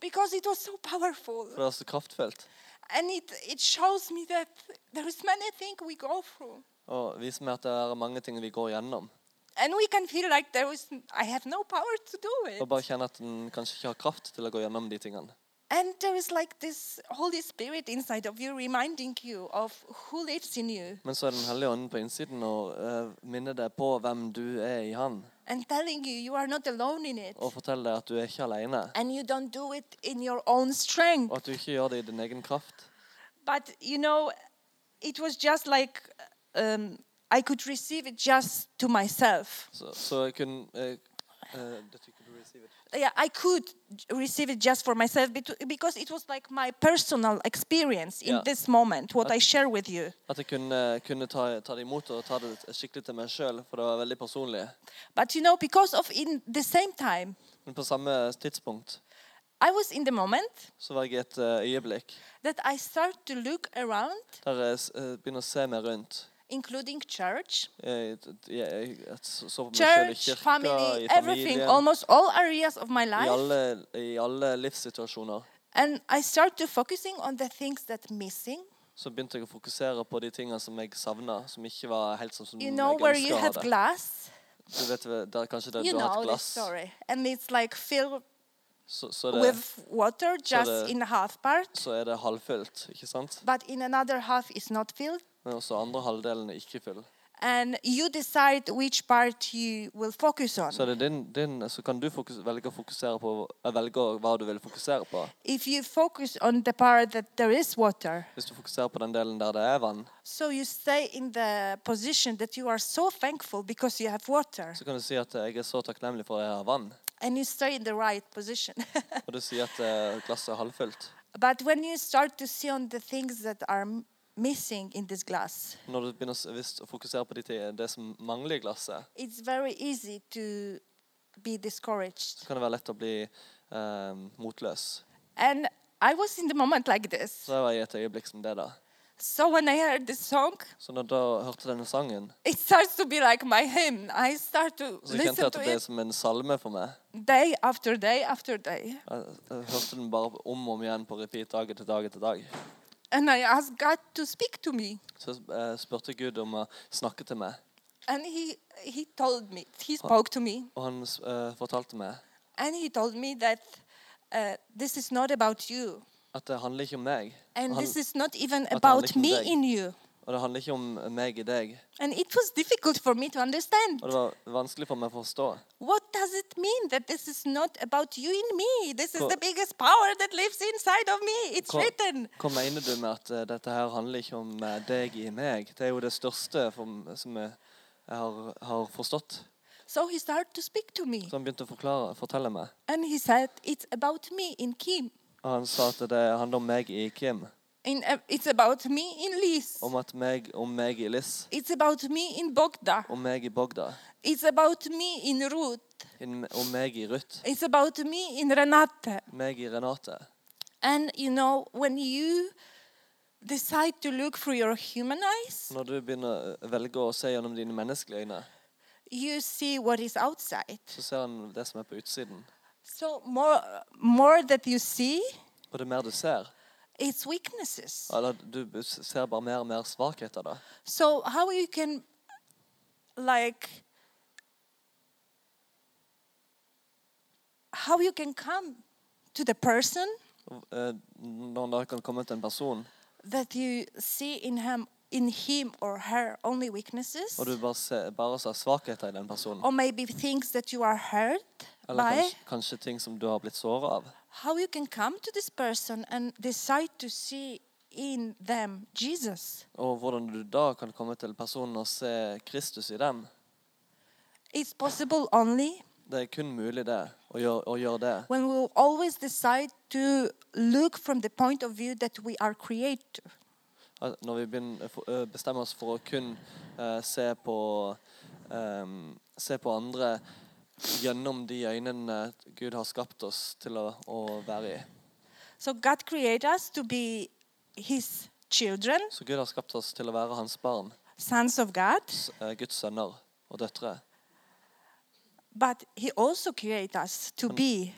Because it was so powerful. For det var så kraftfullt. And it, it shows me that there is many things we go through. Og viser meg at det er mange ting vi går gjennom. And we can feel like there is, I have no power to do it. Og bare kjenne at en kanskje ikke har kraft til å gå gjennom de tingene. And there is like this Holy Spirit inside of you reminding you of who lives in you Men så er Den hellige ånden på innsiden og eh, minner deg på hvem du er i Han. and telling you you are not alone in it. Og forteller deg at du er ikke alene. And you don't do it in your own strength. Og at du ikke gjør det i din egen kraft. But you know, it was just like um, I could receive it just to myself. Så, så jeg kunne eh, eh, dette kunne du receive it. Yeah, I could j- receive it just for myself bet- because it was like my personal experience in Yeah. this moment, what I share with you. At jeg kunne, kunne ta, ta det imot og ta det skikkelig til meg sjøl, for det var veldig personlig. But you know, because of in the same time, Men på samme tidspunkt I was in the moment så var jeg i et eh, øyeblikk that I start to look around der jeg s- eh, begynner å se meg rundt. including church, Jeg, jeg, jeg så på meg sjøl i church, kirka, family, i everything, familien, almost all areas of my i life. alle, i alle livssituasjoner. And I start to focusing on the things that missing. Så begynte jeg å fokusere på de tingene som jeg savna, som ikke var helt sånn som You know jeg where you ønska å ha have det. glass. Du vet, der, kanskje der You du har know this hatt glass, story, and it's like filled så, så, det, with water, just det- in half part, så er det halvfullt, ikke sant? but in another half is not filled. Men også andre halvdelen er ikke full. And you decide which part you will focus on. Så, er det din, din, så kan du fokus, velge å fokusere på eh, velge hva du vil fokusere på. If you focus on the part that there is water, Hvis du fokuserer på den delen der det er vann, so you stay in the position that you are so thankful because you have water. så kan du si at eh, jeg er så takknemlig for at jeg har vann. and you stay in the right position. Og du sier at eh, glasset er halvfullt. but when you start to see on the things that are m- missing in this glass, Når du begynner å s- hvis, å fokusere på de, ti- det som mangler i glasset, it's very easy to be discouraged. så kan det være lett å bli eh, motløs. And I was in the moment like this. Så jeg var i et øyeblikk som det, da. So when I heard this song, Så når da hørte denne sangen, it starts to be like my hymn. I start to så kjente listen jeg at to det er it som en salme for meg. day after day after day. Jeg, jeg hørte den bare om og om igjen på repeat dag etter dag etter dag. And I asked God to speak to me. Så eh, spurte Gud om å snakke til meg, And he, he told me, he spoke to me. og han s- eh, fortalte meg And he told me that uh, this is not about you. At det handler ikke om meg. And Og, han, this is not even han about liksom me deg. in you. og det handler ikke om meg i deg. And it was difficult for me to understand. Og det var vanskelig for meg å forstå. What does it mean that this is not about you in me? This is Co- the biggest power that lives inside of me. It's Co- written. Hva mener du med at eh, dette her handler ikke om eh, deg i meg? Det er jo det største for, m- som jeg, jeg har, har forstått. So he started to speak to me. Så han begynte å forklare, fortelle meg. And he said, It's about me in Kim. Og han sa at det handler om meg i Kim. In, uh, it's about me in Liz. Om, at meg, om meg i Liss. It's about me in Bogda. Om meg i Bogda. It's about me in Ruth. inn- Om meg i Ruth. It's about me in Renate. Meg i Renate. And you know, when you decide to look through your human eyes, Når du begynner å velge å se gjennom dine menneskelige øyne, you see what is outside. så ser han det som er på utsiden. So more more that you see, Og det mer du ser, it's weaknesses. eller du b- s- ser bare mer og mer svakheter da. So how you can like how you can come to the person Og, eh, Når da kan komme til en person, that you see in him in him or her only weaknesses og du bare ser, bare ser svakheter i den personen, or maybe things that you are hurt eller by kanskje, kanskje ting som du har blitt såret av, how you can come to this person and decide to see in them Jesus og hvordan du da kan komme til personen og se Kristus i dem, it's possible only det er kun mulig det, å gjøre, å gjøre det. when we will always decide to look from the point of view that we are created. At Når vi begynner, for- eh, bestemmer oss for å kun eh, se på ehm, se på andre gjennom de øynene Gud har skapt oss til å, å være i. So God created us to be His children, Så Gud har skapt oss til å være hans barn, sons of God, s- eh, Guds sønner og døtre. but He also created us to be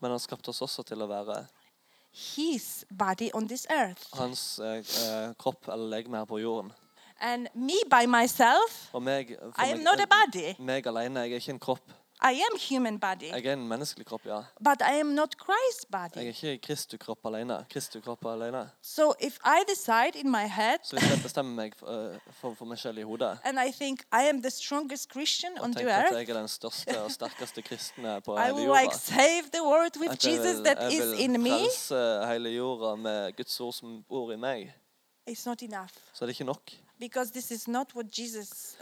Men han skapte oss også til å være His body on this earth. hans eh, eh, kropp eller legeme her på jorden. And me by myself, Og meg, for I am meg- not a body. meg alene, jeg er ikke en kropp. I am human body, Jeg er en menneskelig kropp, ja. but I am not Christ's Jeg body. er ikke Kristu kropp alene. Kristu kropp alene. So if I decide in my head, Så hvis jeg bestemmer meg for, eh, for, for meg selv i hodet and I think I am the strongest Christian on og the tenker at earth, jeg er den største og sterkeste kristne på I hele will like jorda save the world with At jeg Jesus vil, that jeg is vil in me, frelse hele jorda med Guds ord som bor i meg. it's not enough Så er det ikke nok. because this is not what Jesus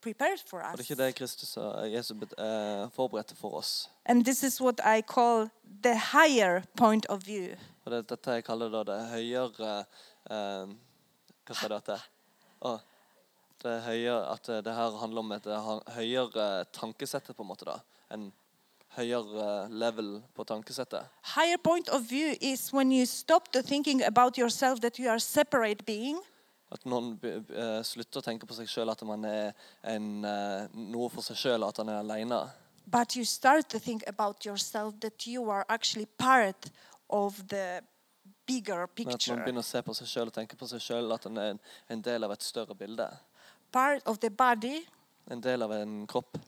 prepared for Og det er us. ikke det Kristus og Jesus bet- eh, forberedte for oss. And this is what I call the higher point of view. Og det er dette jeg kaller da det høyere eh, Hva sa du at det er? Å, det er høyere, at det her handler om et ha- høyere tankesettet, på en måte. da. En høyere level på tankesettet. Higher point of view is when you stop to thinking about yourself that you are separate being At noen be- be- eh, slutter å tenke på seg sjøl at man er en, eh, noe for seg sjøl, at han er aleine. but you start to think about yourself that you are actually part of the bigger Men at man picture, begynner å se på seg sjøl og tenke på seg sjøl at han er en, en del av et større bilde. part of the body En del av en kropp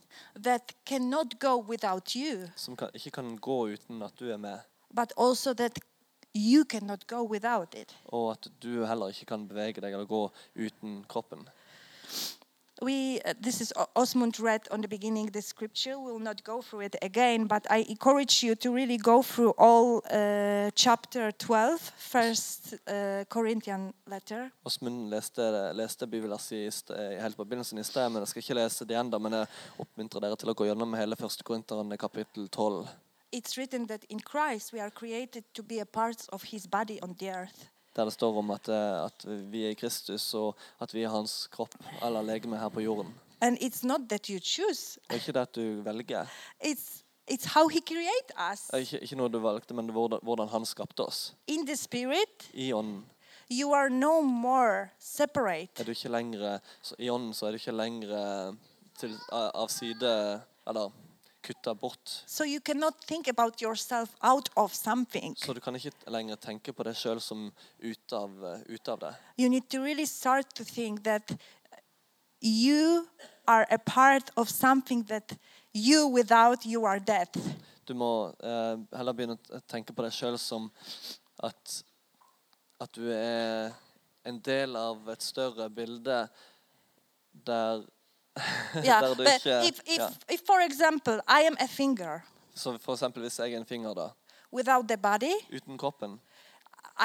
that cannot go without you. som kan, ikke kan gå uten at du er med, but also that you cannot go without it. og at du heller ikke kan bevege deg eller gå uten kroppen. We, uh, this is O- Osmund read on the beginning the scripture. We'll not go through it again, but I encourage you to really go through all uh, chapter 12, first uh, Corinthian letter. Åsmund leste, leste bibelverset i st- eh, helt på begynnelsen i sted, men jeg skal ikke lese det igjen, da, men jeg oppmuntrer dere til å gå gjennom hele første korinteren kapittel 12. It's written that in Christ we are created to be a part of His body on the earth. Der det står om at, eh, at vi er i Kristus, og at vi er hans kropp eller legeme her på jorden. And it's not that you choose; Og ikke det at du velger. it's it's how He creates us Eh, Ikke, ikke noe du valgte, men hvordan, hvordan han skapte oss. in the Spirit. I ånden You are no more separate. er du ikke lenger så I ånden så er du ikke lenger til, a- av side Eller kutta bort. So you cannot think about yourself out of something. Så du kan ikke lenger tenke på deg sjøl som ute av, ute av det. You need to really start to think that you are a part of something that you without you are dead. Du må eh, heller begynne å t- tenke på deg sjøl som at, at du er en del av et større bilde der, yeah. der du But ikke if, if, ja. if, for example, I am a finger Så for eksempel hvis jeg er en finger, da. without the body, Uten kroppen.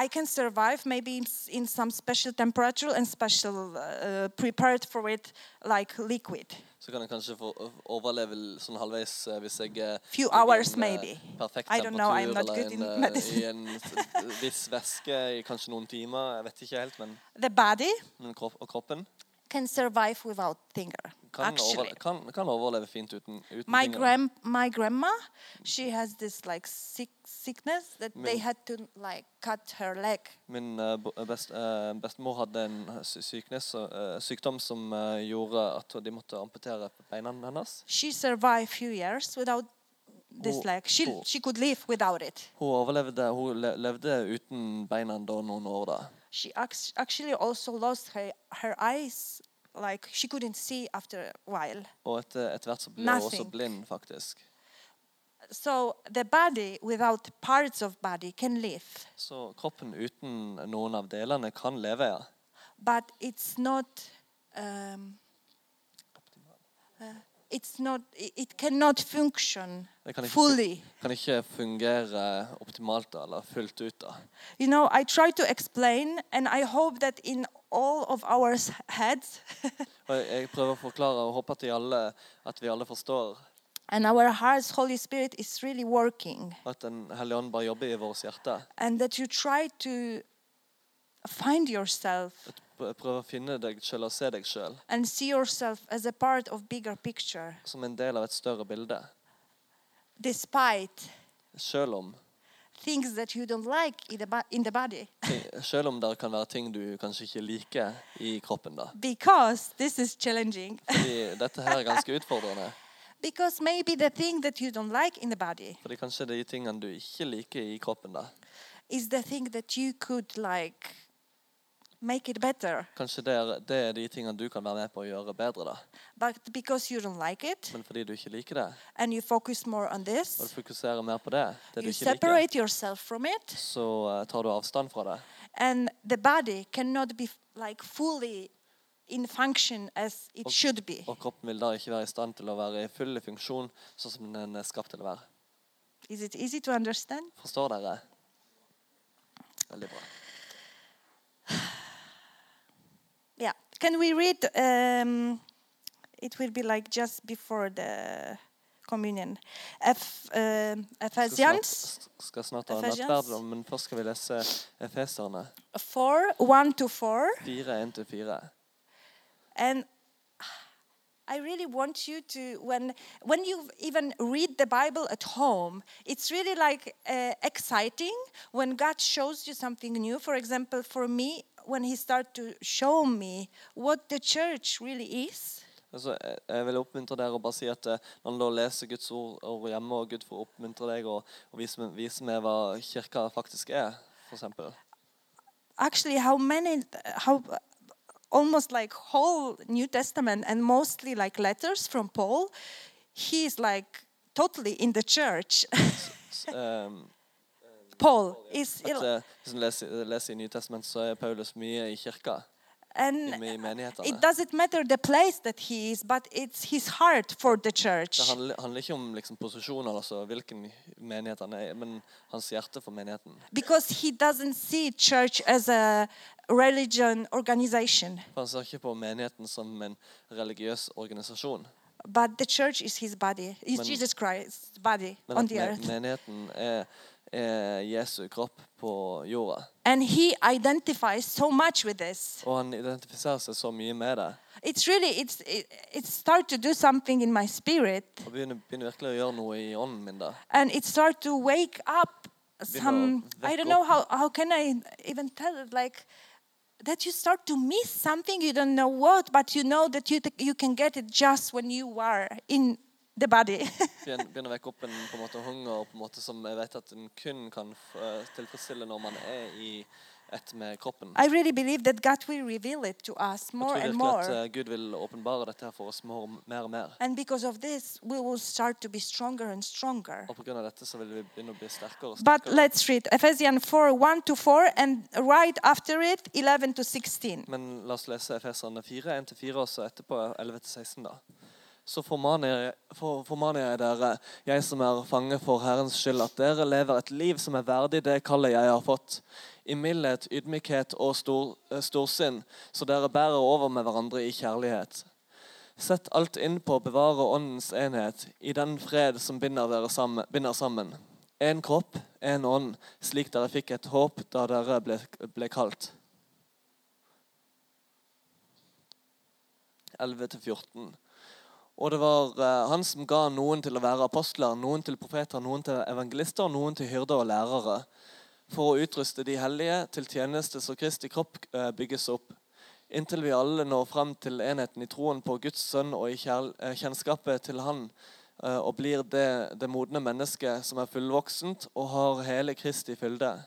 I can survive maybe in s- in some special temperature and special uh, prepared for it like liquid. Så kan jeg kanskje få overleve l- sånn halvveis eh, hvis jeg eh, Few ligger i hours, en, eh, maybe. Perfekt I don't know, temperatur I'm not eller good in en, eh, medicine. i en s- viss væske i kanskje noen timer. Jeg vet ikke helt, men, The body men kropp, og kroppen can survive without finger. kan, actually, overle kan, kan overleve fint uten, uten my fingeren. grand my grandma, she has this like sick sickness that they Min- had to like cut her leg. Min eh, bo- eh, best, eh, bestemor hadde en eh, sy- syknes, eh, sykdom som eh, gjorde at de måtte amputere beina hennes. She survived few years without this Who- leg. She who- she could live without it. Hun overlevde, hun le levde uten beina da noen år da. she act- actually also lost her, her eyes like she couldn't see after a while Og etter, etter hvert så ble hun også Nothing. blind, faktisk. so the body without parts of body can live Så kroppen uten noen av delene kan leve, ja. but it's not um, uh, it's not i- it cannot function Det kan ikke, fully kan ikke fungere optimalt da, eller fullt ut. da. you know i try to explain and i hope that in all of our s- heads Og jeg- jeg prøver å forklare og håper at, de alle, at vi alle forstår and our hearts holy spirit is really working at Den hellige ånd bare jobber i vårt hjerte. and that you try to find yourself At pr- Prøver å finne deg sjøl og se deg sjøl and see yourself as a part of bigger picture som en del av et større bilde. despite Sjøl om, things that you don't like in the, bo- in the body ting- selv om det kan være ting du kanskje ikke liker i kroppen. da. because this is challenging Fordi dette her er ganske utfordrende. because maybe the thing that you don't like in the body Fordi kanskje de tingene du ikke liker i kroppen, da. is the thing that you could like make it better Kanskje det er, det er de tingene du kan være med på å gjøre bedre, da. but because you don't like it Men fordi du ikke liker det, and you focus more on og du this fokuserer mer på det, det du you ikke liker, separate yourself from it så eh, tar du avstand fra det. and the body cannot be like fully in function as it Ok. should be Og kroppen vil da ikke være i stand til å være i full funksjon sånn som den er skapt til å være. is it easy to understand Forstår dere? Veldig bra. Yeah. Can we read? Um, it will be like just before the communion. Eph, um Skal snart, Ephesians s- skal snart ha en Ephesians. nattverd, da, men først skal vi lese Efeserne 4 1 to 4. 4, 1-4. And I really want you to, when, when you even read the Bible at home, it's really like uh, exciting when God shows you something new. For example, for me, when He started to show me what the church really is. Altså, jeg, jeg vil oppmuntre dere og bare si at eh, når dere leser Guds ord over hjemme, og Gud får oppmuntre deg og, og vise, meg- vise meg hva kirka faktisk er, for eksempel. actually how many how almost like whole new testament and mostly like letters from paul he's like totally in the church S- ehm, paul is at, eh, hvis en leser, leser i Nytestamentet, så er Paulus mye i kirka, i, and i menighetene. it doesn't matter the place that he is but it's his heart for the church Det handler, handler ikke om liksom, posisjoner, altså hvilken menighet han er i, men hans hjerte for menigheten. because he doesn't see church as a religion organization For Han ser ikke på menigheten som en religiøs organisasjon, but the church is his body is Men- jesus christ's body men on at the me- earth menigheten er, er Jesu kropp på jorda. and he identifies so much with this Og han identifiserer seg så mye med det. it's really it's it, it start to do something in my spirit Og begynner, begynner virkelig å gjøre noe i ånden min. da. and it start to wake up some i wake don't know how, how can i even tell it like that you start to miss something you don't know what but you know that you you can get it just when you are in the body. Begyn- Begynner å vekke opp en på en måte hunger på en måte som jeg vet at en kun kan f- eh, tilfredsstille når man er i ett med kroppen. I really believe that God will reveal it to us Jeg more tror and virkelig at more. eh, Gud vil åpenbare dette her for oss mer og mer. Og mer. And because of this, we will start to be stronger and stronger. Og pga. dette så vil vi begynne å bli sterkere og But sterkere. let's read Ephesians 4 1 to 4 and right after it 11 to 16. Men la oss lese Efeserne 4, 1-4, og så etterpå 11-16, da. Så formaner jeg, for, formaner jeg dere, jeg som er fange for Herrens skyld, at dere lever et liv som er verdig det kallet jeg har fått, i mildhet, ydmykhet og stor, eh, storsinn, så dere bærer over med hverandre i kjærlighet. Sett alt inn på å bevare åndens enhet, i den fred som binder dere sammen. Binder sammen. En kropp, en ånd, slik dere fikk et håp da dere ble, ble kalt. 11-14. Og det var eh, han som ga noen til å være apostler, noen til profeter, noen til evangelister, og noen til hyrder og lærere, for å utruste de hellige til tjeneste så Kristi kropp eh, bygges opp, inntil vi alle når frem til enheten i troen på Guds sønn og i kjærl- eh, kjennskapet til Han, eh, og blir det, det modne mennesket som er fullvoksent og har hele Kristi fylde.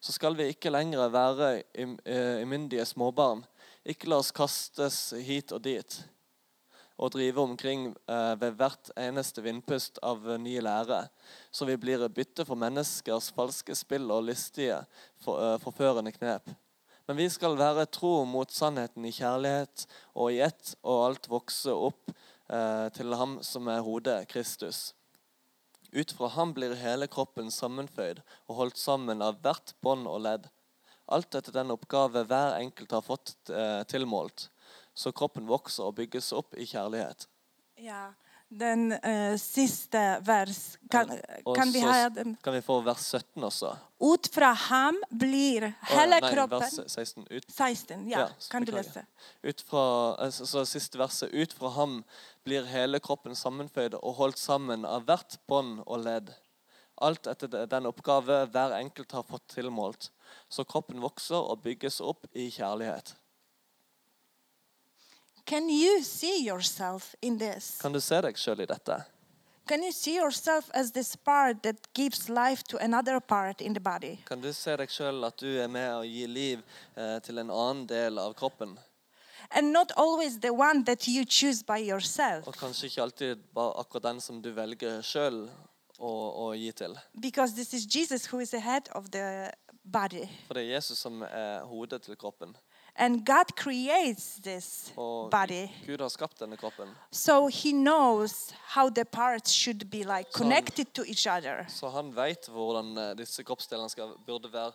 Så skal vi ikke lenger være im- eh, imyndige småbarn, ikke la oss kastes hit og dit og drive omkring eh, ved hvert eneste vindpust av eh, ny lære, så vi blir et bytte for menneskers falske spill og listige, for, eh, forførende knep. Men vi skal være tro mot sannheten i kjærlighet og i ett og alt vokse opp eh, til ham som er hodet, Kristus. Ut fra ham blir hele kroppen sammenføyd og holdt sammen av hvert bånd og ledd. Alt etter den oppgave hver enkelt har fått eh, tilmålt. Så kroppen vokser og bygges opp i kjærlighet. Yeah. Then uh, sista vers. Kan, Og kan vi så ha den? kan vi få vers 17 også. Ut fra ham blir Å, hele nei, kroppen vers 16. Ut, 16. Ja, Ja, kan du beklager. lese? ut fra, eh, så, så siste verset. Ut fra ham blir hele kroppen sammenføyd og holdt sammen av hvert bånd og ledd. Alt etter de- den oppgave hver enkelt har fått tilmålt. Så kroppen vokser og bygges opp i kjærlighet. Can you see yourself in this? Kan du se deg sjøl i dette? Can you see yourself as this part that gives life to another part in the body? Kan du se deg sjøl at du er med og gir liv eh, til en annen del av kroppen? And not always the one that you choose by yourself, Og kanskje ikke alltid bare akkurat den som du velger sjøl å, å gi til. because this is Jesus who is the head of the body. For det er Jesus som er hodet til kroppen. And God creates this Og body. Gud har skapt denne kroppen, So he knows how the parts should be like Son. connected to each other. så han veit hvordan eh, disse kroppsdelene skal, burde være,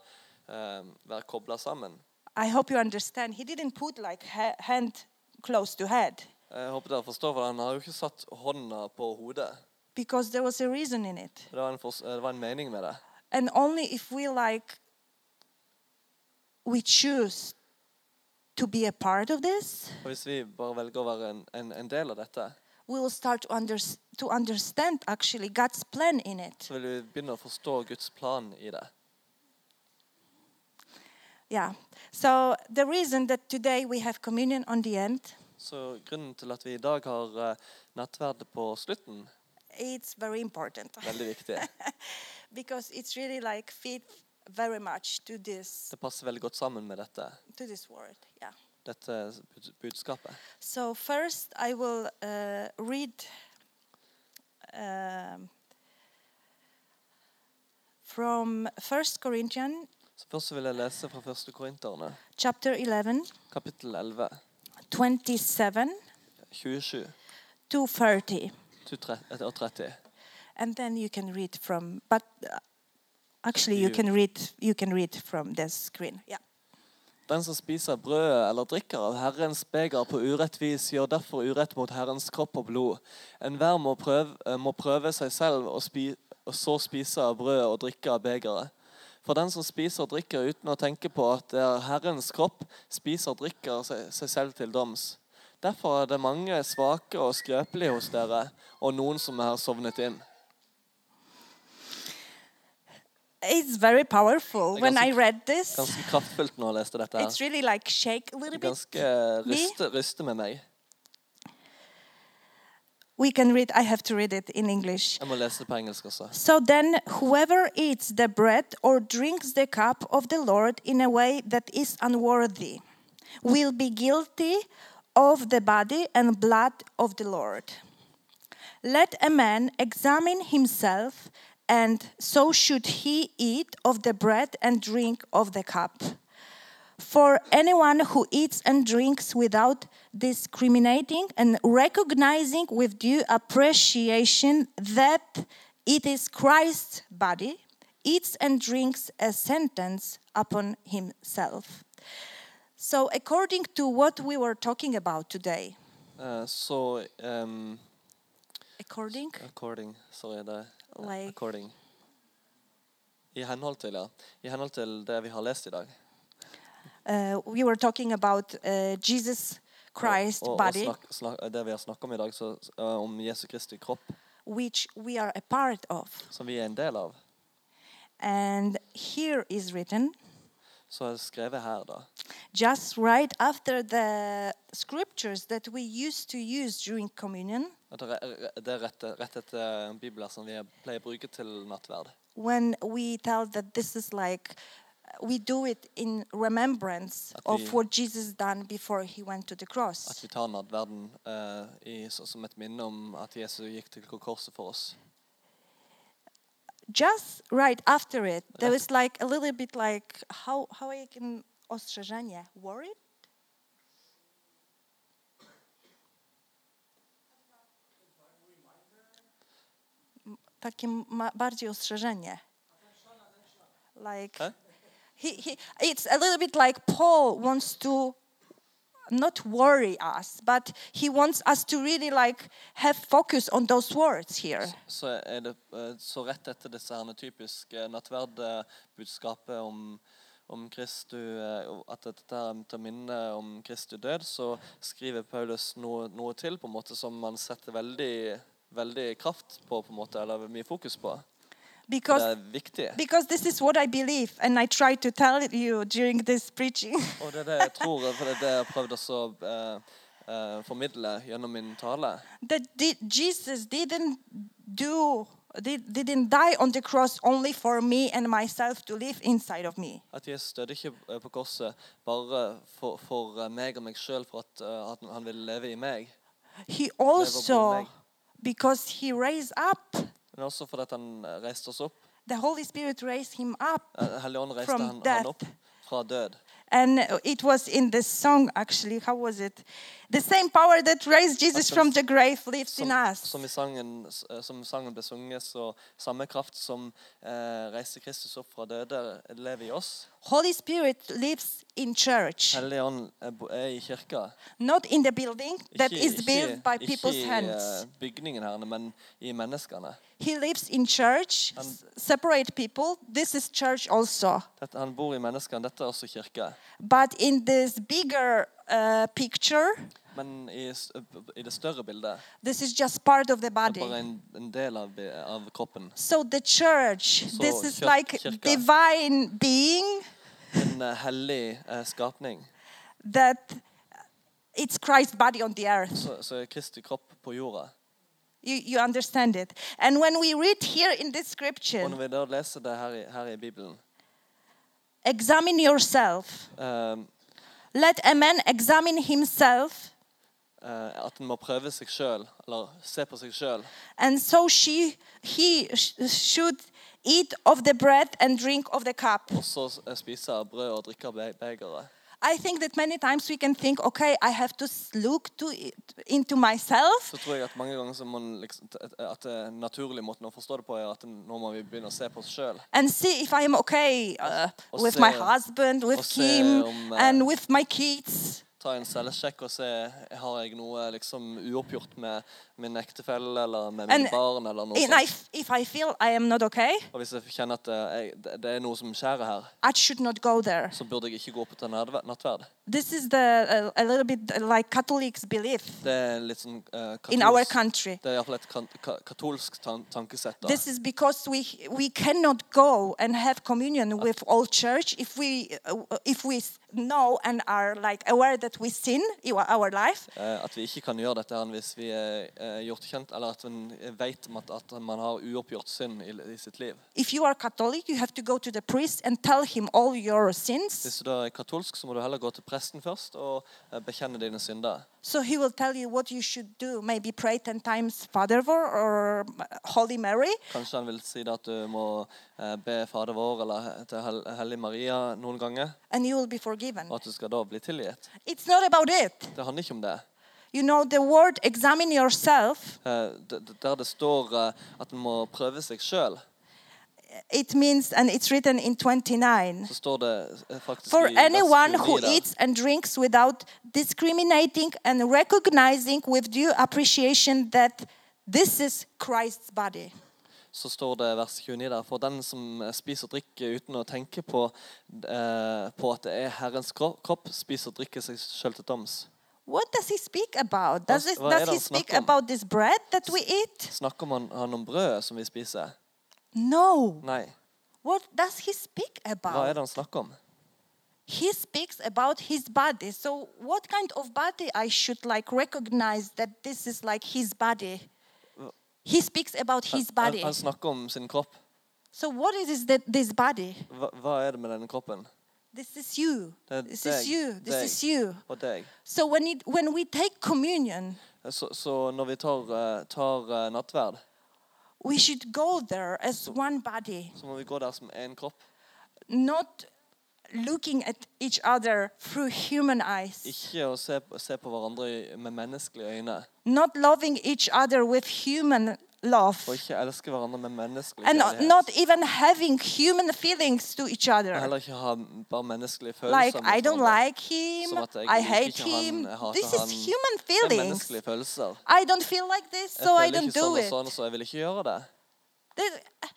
eh, være kobla sammen. I hope you understand. He didn't put like ha- hand close to head Jeg håper dere forstår, for Han har jo ikke satt hånda på hodet. because there was a reason in it. Det var en, fors- eh, det var en mening med det. And only if we like we choose to be a part of this, Og Hvis vi bare velger å være en, en, en del av dette, we will start to, under- to understand actually God's plan in it. så vil vi begynne å forstå Guds plan i det. Yeah. So the reason that today we have communion on the end, Så grunnen til at vi i dag har eh, nattverd på slutten, it's very important. veldig viktig. because it's really like fit very much to this Det passer veldig godt sammen med dette, to this word yeah dette bud- budskapet. so first i will uh, read um, from First corinthians Så først så vil jeg lese fra 1. Korinterne, chapter 11 kapittel 11, 27 27 to 30 til tre- og 30. and then you can read from but uh, actually you You- can read you can read from the screen yeah Den som spiser brødet eller drikker av Herrens beger på urett vis, gjør derfor urett mot Herrens kropp og blod. Enhver må, prøv- eh, må prøve seg selv og, spi, og så spise av brødet og drikke av begeret. For den som spiser og drikker uten å tenke på at det er Herrens kropp, spiser og drikker seg, seg selv til doms. Derfor er det mange svake og skrøpelige hos dere, og noen som har sovnet inn. it's very powerful when i Ganske- read this Ganske kraftfullt når jeg leste dette. it's her. really like shake a little bit Ganske ryste, ryste med meg. we can read, I have to read it in English. Jeg må lese det på engelsk også. So then, whoever eats the bread or drinks the cup of the Lord in a way that is unworthy will be guilty of the body and blood of the Lord. Let a man examine himself, and so should he eat of the bread and drink of the cup. For anyone who eats and drinks without discriminating and recognizing with due appreciation that it is Christ's body, eats and drinks a sentence upon himself. So, according to what we were talking about today, Eh, så ehm, according, According, så er det eh, Like- According. I henhold til, ja. I henhold til det vi har lest i dag. uh, we were talking about uh, Jesus Christ's og, og, body, Og snakk, snakk, det vi har snakket om i dag, så, eh, om Jesu Kristi kropp, which we are a part of. som vi er en del av, And here is written, så er det skrevet her, da. just right after the scriptures that we used to use during communion, At Det er- det er rett, rett etter bibler som vi pleier å bruke til nattverd. when we tell that this is like we do it in remembrance At vi- of what Jesus done before he went to the At cross. vi tar nattverden eh, i, så, som et minne om at Jesus gikk til korset for oss. Just right after it, there was like a little bit like how how I can ostrzeżenie worried. M- Takie ma- bardziej ostrzeżenie. Like Huh? he, he, it's a little bit like Paul wants to not worry us, but he wants us to really like have focus on those words here. Så, er det, eh, så rett etter disse herne typiske nattverdbudskapet om, om Kristu, eh, og at dette her er til minne om Kristu død, så skriver Paulus noe, noe til på en måte som man setter veldig, veldig kraft på, på en måte, eller mye fokus på. For Because Det er viktig. Because this is what I believe, and I try to tell you during this preaching. Og det er det jeg tror, for det er det jeg har prøvd også å eh, eh, formidle gjennom min tale. that di- Jesus didn't do, did, didn't die on the cross only for me and myself to live inside of me. At Jesus døde ikke eh, på korset bare for, for eh, meg og meg sjøl, for at, eh, at han ville leve i meg. He Never also, will because he raised up, Men også fordi at han eh, reiste oss opp. the Holy Spirit raised him up. Eh, Helligånden reiste From han, han death. opp fra død. And it was in this song, actually. How was it? The same power that raised Jesus Awesome. from the grave lives Som, in us. som, i sangen, s- eh, som sangen ble sunget, så samme kraft som eh, reiste Kristus opp fra døde, lever i oss. Holy Spirit lives in church. Helligånden er eh, bo- er i kirka. not in the building that is uh, built by ikke people's i hands. eh, bygningen her, men i menneskene. He lives in church, And- s- separate people. This is church also. Dette, han bor i menneskene. Dette er også kirke. But in this bigger uh, picture, Men i, s- i det større bildet this is just part of the er body. bare en, en del av, bi- av kroppen. So the church, this So is kir- like kirka. divine being En eh, hellig eh, skapning. that uh, it's Christ's body on the earth. Så, så er Kristi kropp på jorda. You, you understand it. And when we read here in this scripture, Og når vi da leser det her i, her i Bibelen examine yourself. eh, Let a man examine himself eh, At en må prøve seg sjøl, eller se på seg sjøl. and so she he sh- should eat of the bread and drink of the cup Og så s- eh, spise av brød og drikke av be- begeret. i think that many times we can think okay i have to s- look to it, into myself Så tror jeg at mange ganger så må en liksom, t- at det naturlige måten å forstå det på, er at en- nå må vi begynne å se på oss sjøl. and see if i am okay uh, Och with my se- husband with och se kim om, eh, and with my kids Ta en selvsjekk og se har jeg noe liksom uoppgjort med min ektefelle eller med mine And- barn. eller noe and I, sånt. f- if i feel i am not okay Og hvis jeg kjenner at eh, jeg, det- det er noe som skjærer her, i should not go there så burde jeg ikke gå på til nadver- nattverd. this is the uh, a little bit like catholics belief Det er litt sånn eh, in our katolsk- country Det er iallfall et kan- ka- katolsk tan tankesett. da. This is because we we cannot go and have communion with all church if we uh, if we s- know and are like aware that that we sin in our life, Eh, At vi ikke kan gjøre dette her hvis vi er eh, gjort kjent, eller at en vet om at, at man har uoppgjort synd i, i sitt liv. if you are Catholic, you have to go to the priest and tell him all your sins. Hvis du da er katolsk, så må du heller gå til presten først og eh, bekjenne dine synder. So he will tell you what you should do. Maybe pray 10 times Father Vor or uh, Holy Mary. Kanskje han vil si da at du må eh, be Fader vår eller he- til Hel Hellig Maria noen ganger, and you will be forgiven. og at du skal da bli tilgitt. It's not about it. Det handler ikke om det. You know, the word examine yourself, Eh, d- d- Der det står eh, at en må prøve seg sjøl, it means, and it's written in 29. så står det eh, faktisk For i vers anyone 29 who der. eats and drinks without discriminating and recognizing with due appreciation that this is Christ's body. så står det i vers 29 der For den som eh, spiser og drikker uten å tenke på, eh, på at det er Herrens kro- kropp, spiser og drikker seg sjøl til doms. What does he speak about? Does, Vad- it, vad does är det he han snackar speak om? about this bread that we eat? Snakker man han om brødet som vi spiser? No. Nei. What does he speak Hva er about? det han snakker om? he speaks about his body so what kind of body i should like recognize that this is like his body he speaks about his Han, body han snakker om sin kropp. so what is this, that this body Hva, hva er det med denne kroppen? this is you Det er this is deg, you this deg is you og deg. so when it when we take communion Så, så når vi tar, eh, tar eh, nattverd, we should go there as one body så må vi gå der som én kropp. not looking at each other through human eyes Ikke å se, på- se på hverandre i- med menneskelige øyne. not loving each other with human love Og ikke elske hverandre med menneskelig and kjærlighet. not even having human feelings to each Og other. heller ikke ha bare menneskelige følelser. Like mot I don't hverandre. like him, Som at jeg I liker hate ikke han, him. jeg hater This is han. human Det er feelings. menneskelige følelser. I don't feel like this, Jeg so I føler don't ikke do sånn og it. sånn, så jeg vil ikke gjøre det. There-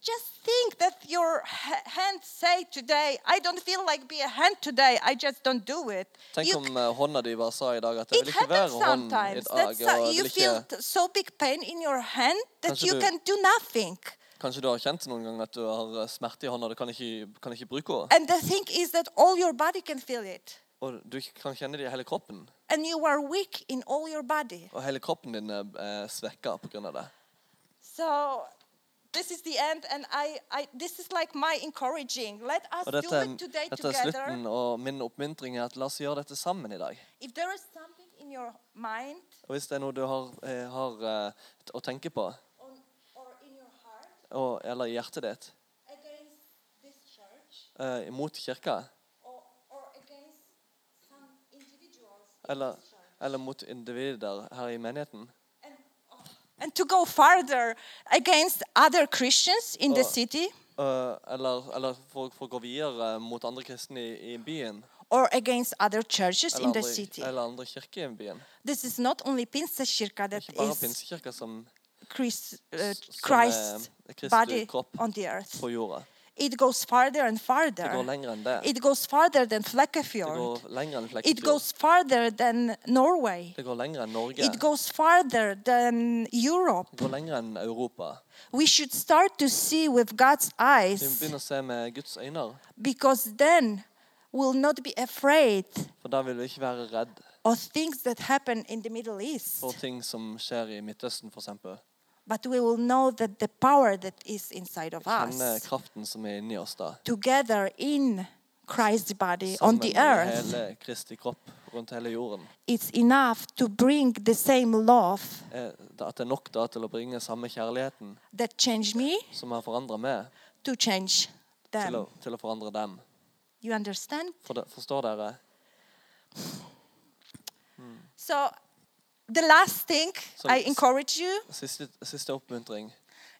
Just think that your ha- hand say today, I don't feel like be a hand today. I just don't do it. Tenk You- om eh, hånda di bare sa i dag at 'jeg it vil ikke være happens hånd i sometimes. dag'. That's Og uh, jeg you vil ikke, feel t- so big pain in your hand that Kanskje you du- can do nothing. kanskje du har kjent noen ganger at du har eh, smerte i hånda, du kan ikke, kan ikke bruke henne. And the thing is that all your body can feel it. Og du ikke kan kjenne det i hele kroppen. and you are weak in all your body. Og hele kroppen din er eh, svekka pga. det. So this is the end, and I, I this is like my encouraging. Let us Og do dette, it today dette er together. slutten, og min oppmuntring er at la oss gjøre dette sammen i dag. If there is something in your mind Og hvis det er noe du har, eh, har eh, t- å tenke på, on, or in your heart og, eller i hjertet ditt, against this church eh, imot kirka, or, or against some individuals, in eller, this church, eller mot individer her i menigheten. and, oh. and to go further against other Christians in the Oh. city eh, eller eller for, for å gå videre mot andre kristne i, i byen. or against other churches in Eller the andre, city. eller andre kirker i byen. This is not only Pinseskirka Det that er ikke bare is pinsekirka som Christ, uh, S- som, Christ's eh, Kristi body kropp. on the earth. på jorda. It goes farther and Det går farther. lenger enn det. It goes farther than Det Flekkefjord. går lenger enn It Flekkefjord. goes farther than Norway. Det går lenger enn Norge. It Det goes farther than Europe. går lenger enn Europa. We should start to see with God's Vi må eyes begynne å se med Guds øyne, because then we'll not be afraid for da vil vi ikke være redd of things that happen in the Middle East, for ting som skjer i Midtøsten, f.eks. but we will know that the power that is inside of Kjenne us, kraften som er inni oss da. together in Christ's body on Sammen the med earth. hele Kristi kropp rundt hele jorden. it's enough to bring the same love Eh, da- At det er nok da til å bringe samme kjærligheten that changed me som har forandra meg, to change til them. å, til å forandre dem. You understand? For det, forstår dere? So, the last thing So I it's- encourage you Siste, siste oppmuntring.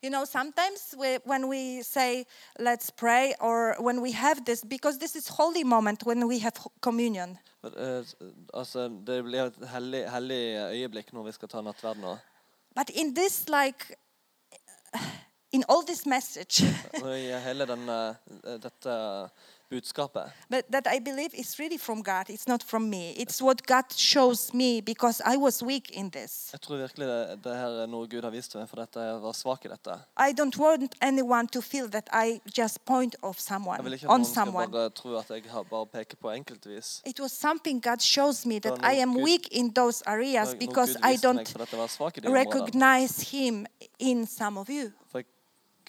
you know, sometimes we, when we say, let's pray, or when we have this, because this is holy moment when we have ho- communion. Eh, s- Altså, det blir et hellig, hellig øyeblikk når vi skal ta nattverd nå. But in this, like, in all this message, Og I hele denne, eh, dette budskapet. but that I believe is really from God. It's not from me. It's what God shows me because I was weak in this. Jeg tror virkelig det, det her er noe Gud har vist meg, for dette jeg var svak i dette. I don't want anyone to feel that I just point off Jeg vil someone ikke at on noen skal someone. bare tro at jeg har bare peker på enkeltvis. It was something God shows me that Don't I look am good. weak in those Når- areas når because Gud I viste don't meg for at jeg var svak i de områdene. recognize Him in some of you. For jeg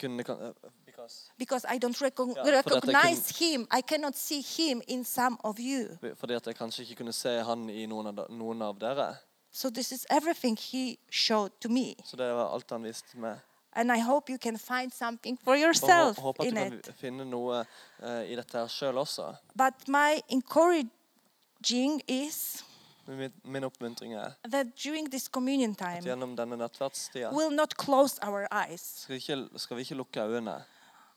kunne kan- eh, because- Because I don't recog- Ja, for dette recognize Him. I cannot see Him in some of you. Fordi at jeg kanskje ikke kunne se han i noen av, de- noen av dere. So this is everything He showed to me. Så det var alt han viste meg. And I hope you can find something for Og hå- yourself håper at du in kan it. finne noe eh, i dette her sjøl også. But my encouraging is Men Min, min oppmuntring er that during this communion at time, gjennom denne nettverkstida we'll not close our eyes. skal, vi ikke- skal vi ikke lukke øynene.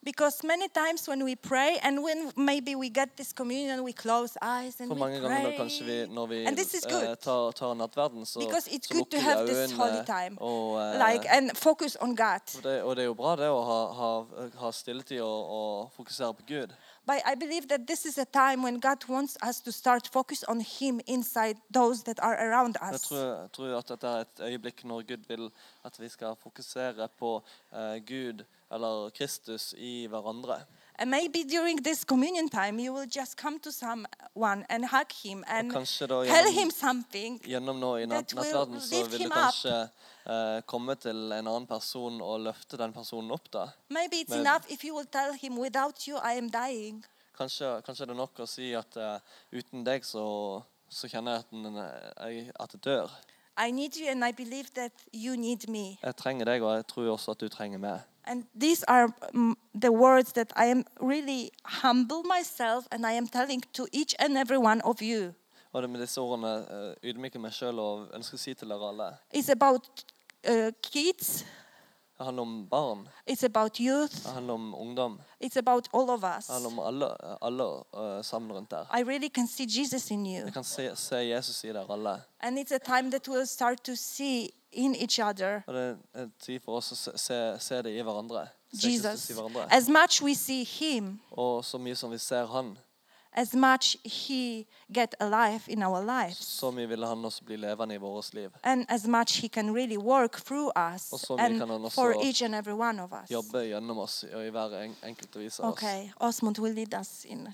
Because many times when we pray and when maybe we get this communion, we close eyes and For we mange ganger når, pray. kanskje vi, når vi And this is eh, good. tar, tar nattverden, så, Because it's så good to lukker have vi this holy øynene. time. Og, eh, Like, and focus on God. og, det, og det er jo bra det å ha, ha, ha stilletid og, og fokusere på Gud. But I believe that this is a time when God wants us to start focus on Him inside those that are around Jeg us. tror, jeg tror at dette er et øyeblikk når Gud vil at vi skal fokusere på eh, Gud eller Kristus i hverandre. And maybe during this communion time, you will just come to someone and hug him and kanskje da tell gjennom- him something. Gjennom nå i That nat- will nattverden så lift vil du him up. kanskje eh, komme til en annen person og løfte den personen opp da. Maybe it's Men- enough if you will tell him, without you, I am dying. Kanskje, kanskje det er nok å si at eh, uten deg så, så kjenner jeg at, den, eh, jeg at jeg dør. I need you and I believe that you need me. Jeg trenger deg, og jeg tror også at du trenger meg. And these are mm, the words that I am really humble myself and I am telling to each and every one of you. Og det med disse ordene eh, ydmyker meg sjøl og ønsker å si til dere alle. It's about uh, kids, Det handler om barn, it's about youth, det handler om ungdom. it's about all of us. Det handler om alle, alle eh, sammen rundt der. I really can see Jesus in you. Jeg kan se, se Jesus i dere alle. And it's a time that we'll start to see in each other Og det er en tid for oss å se, se, se det i hverandre. Se Jesus. Kristus i hverandre. As much we see him, Og så mye som vi ser han, as much he get alive in our lives. så mye ville han også bli levende i vårt liv. And as much he can really work through Och us så mycket han and också for each and every one of us. Jobbe gjennom oss og i hver en, enkelte vis av oss. Okay, Osmond will lead us in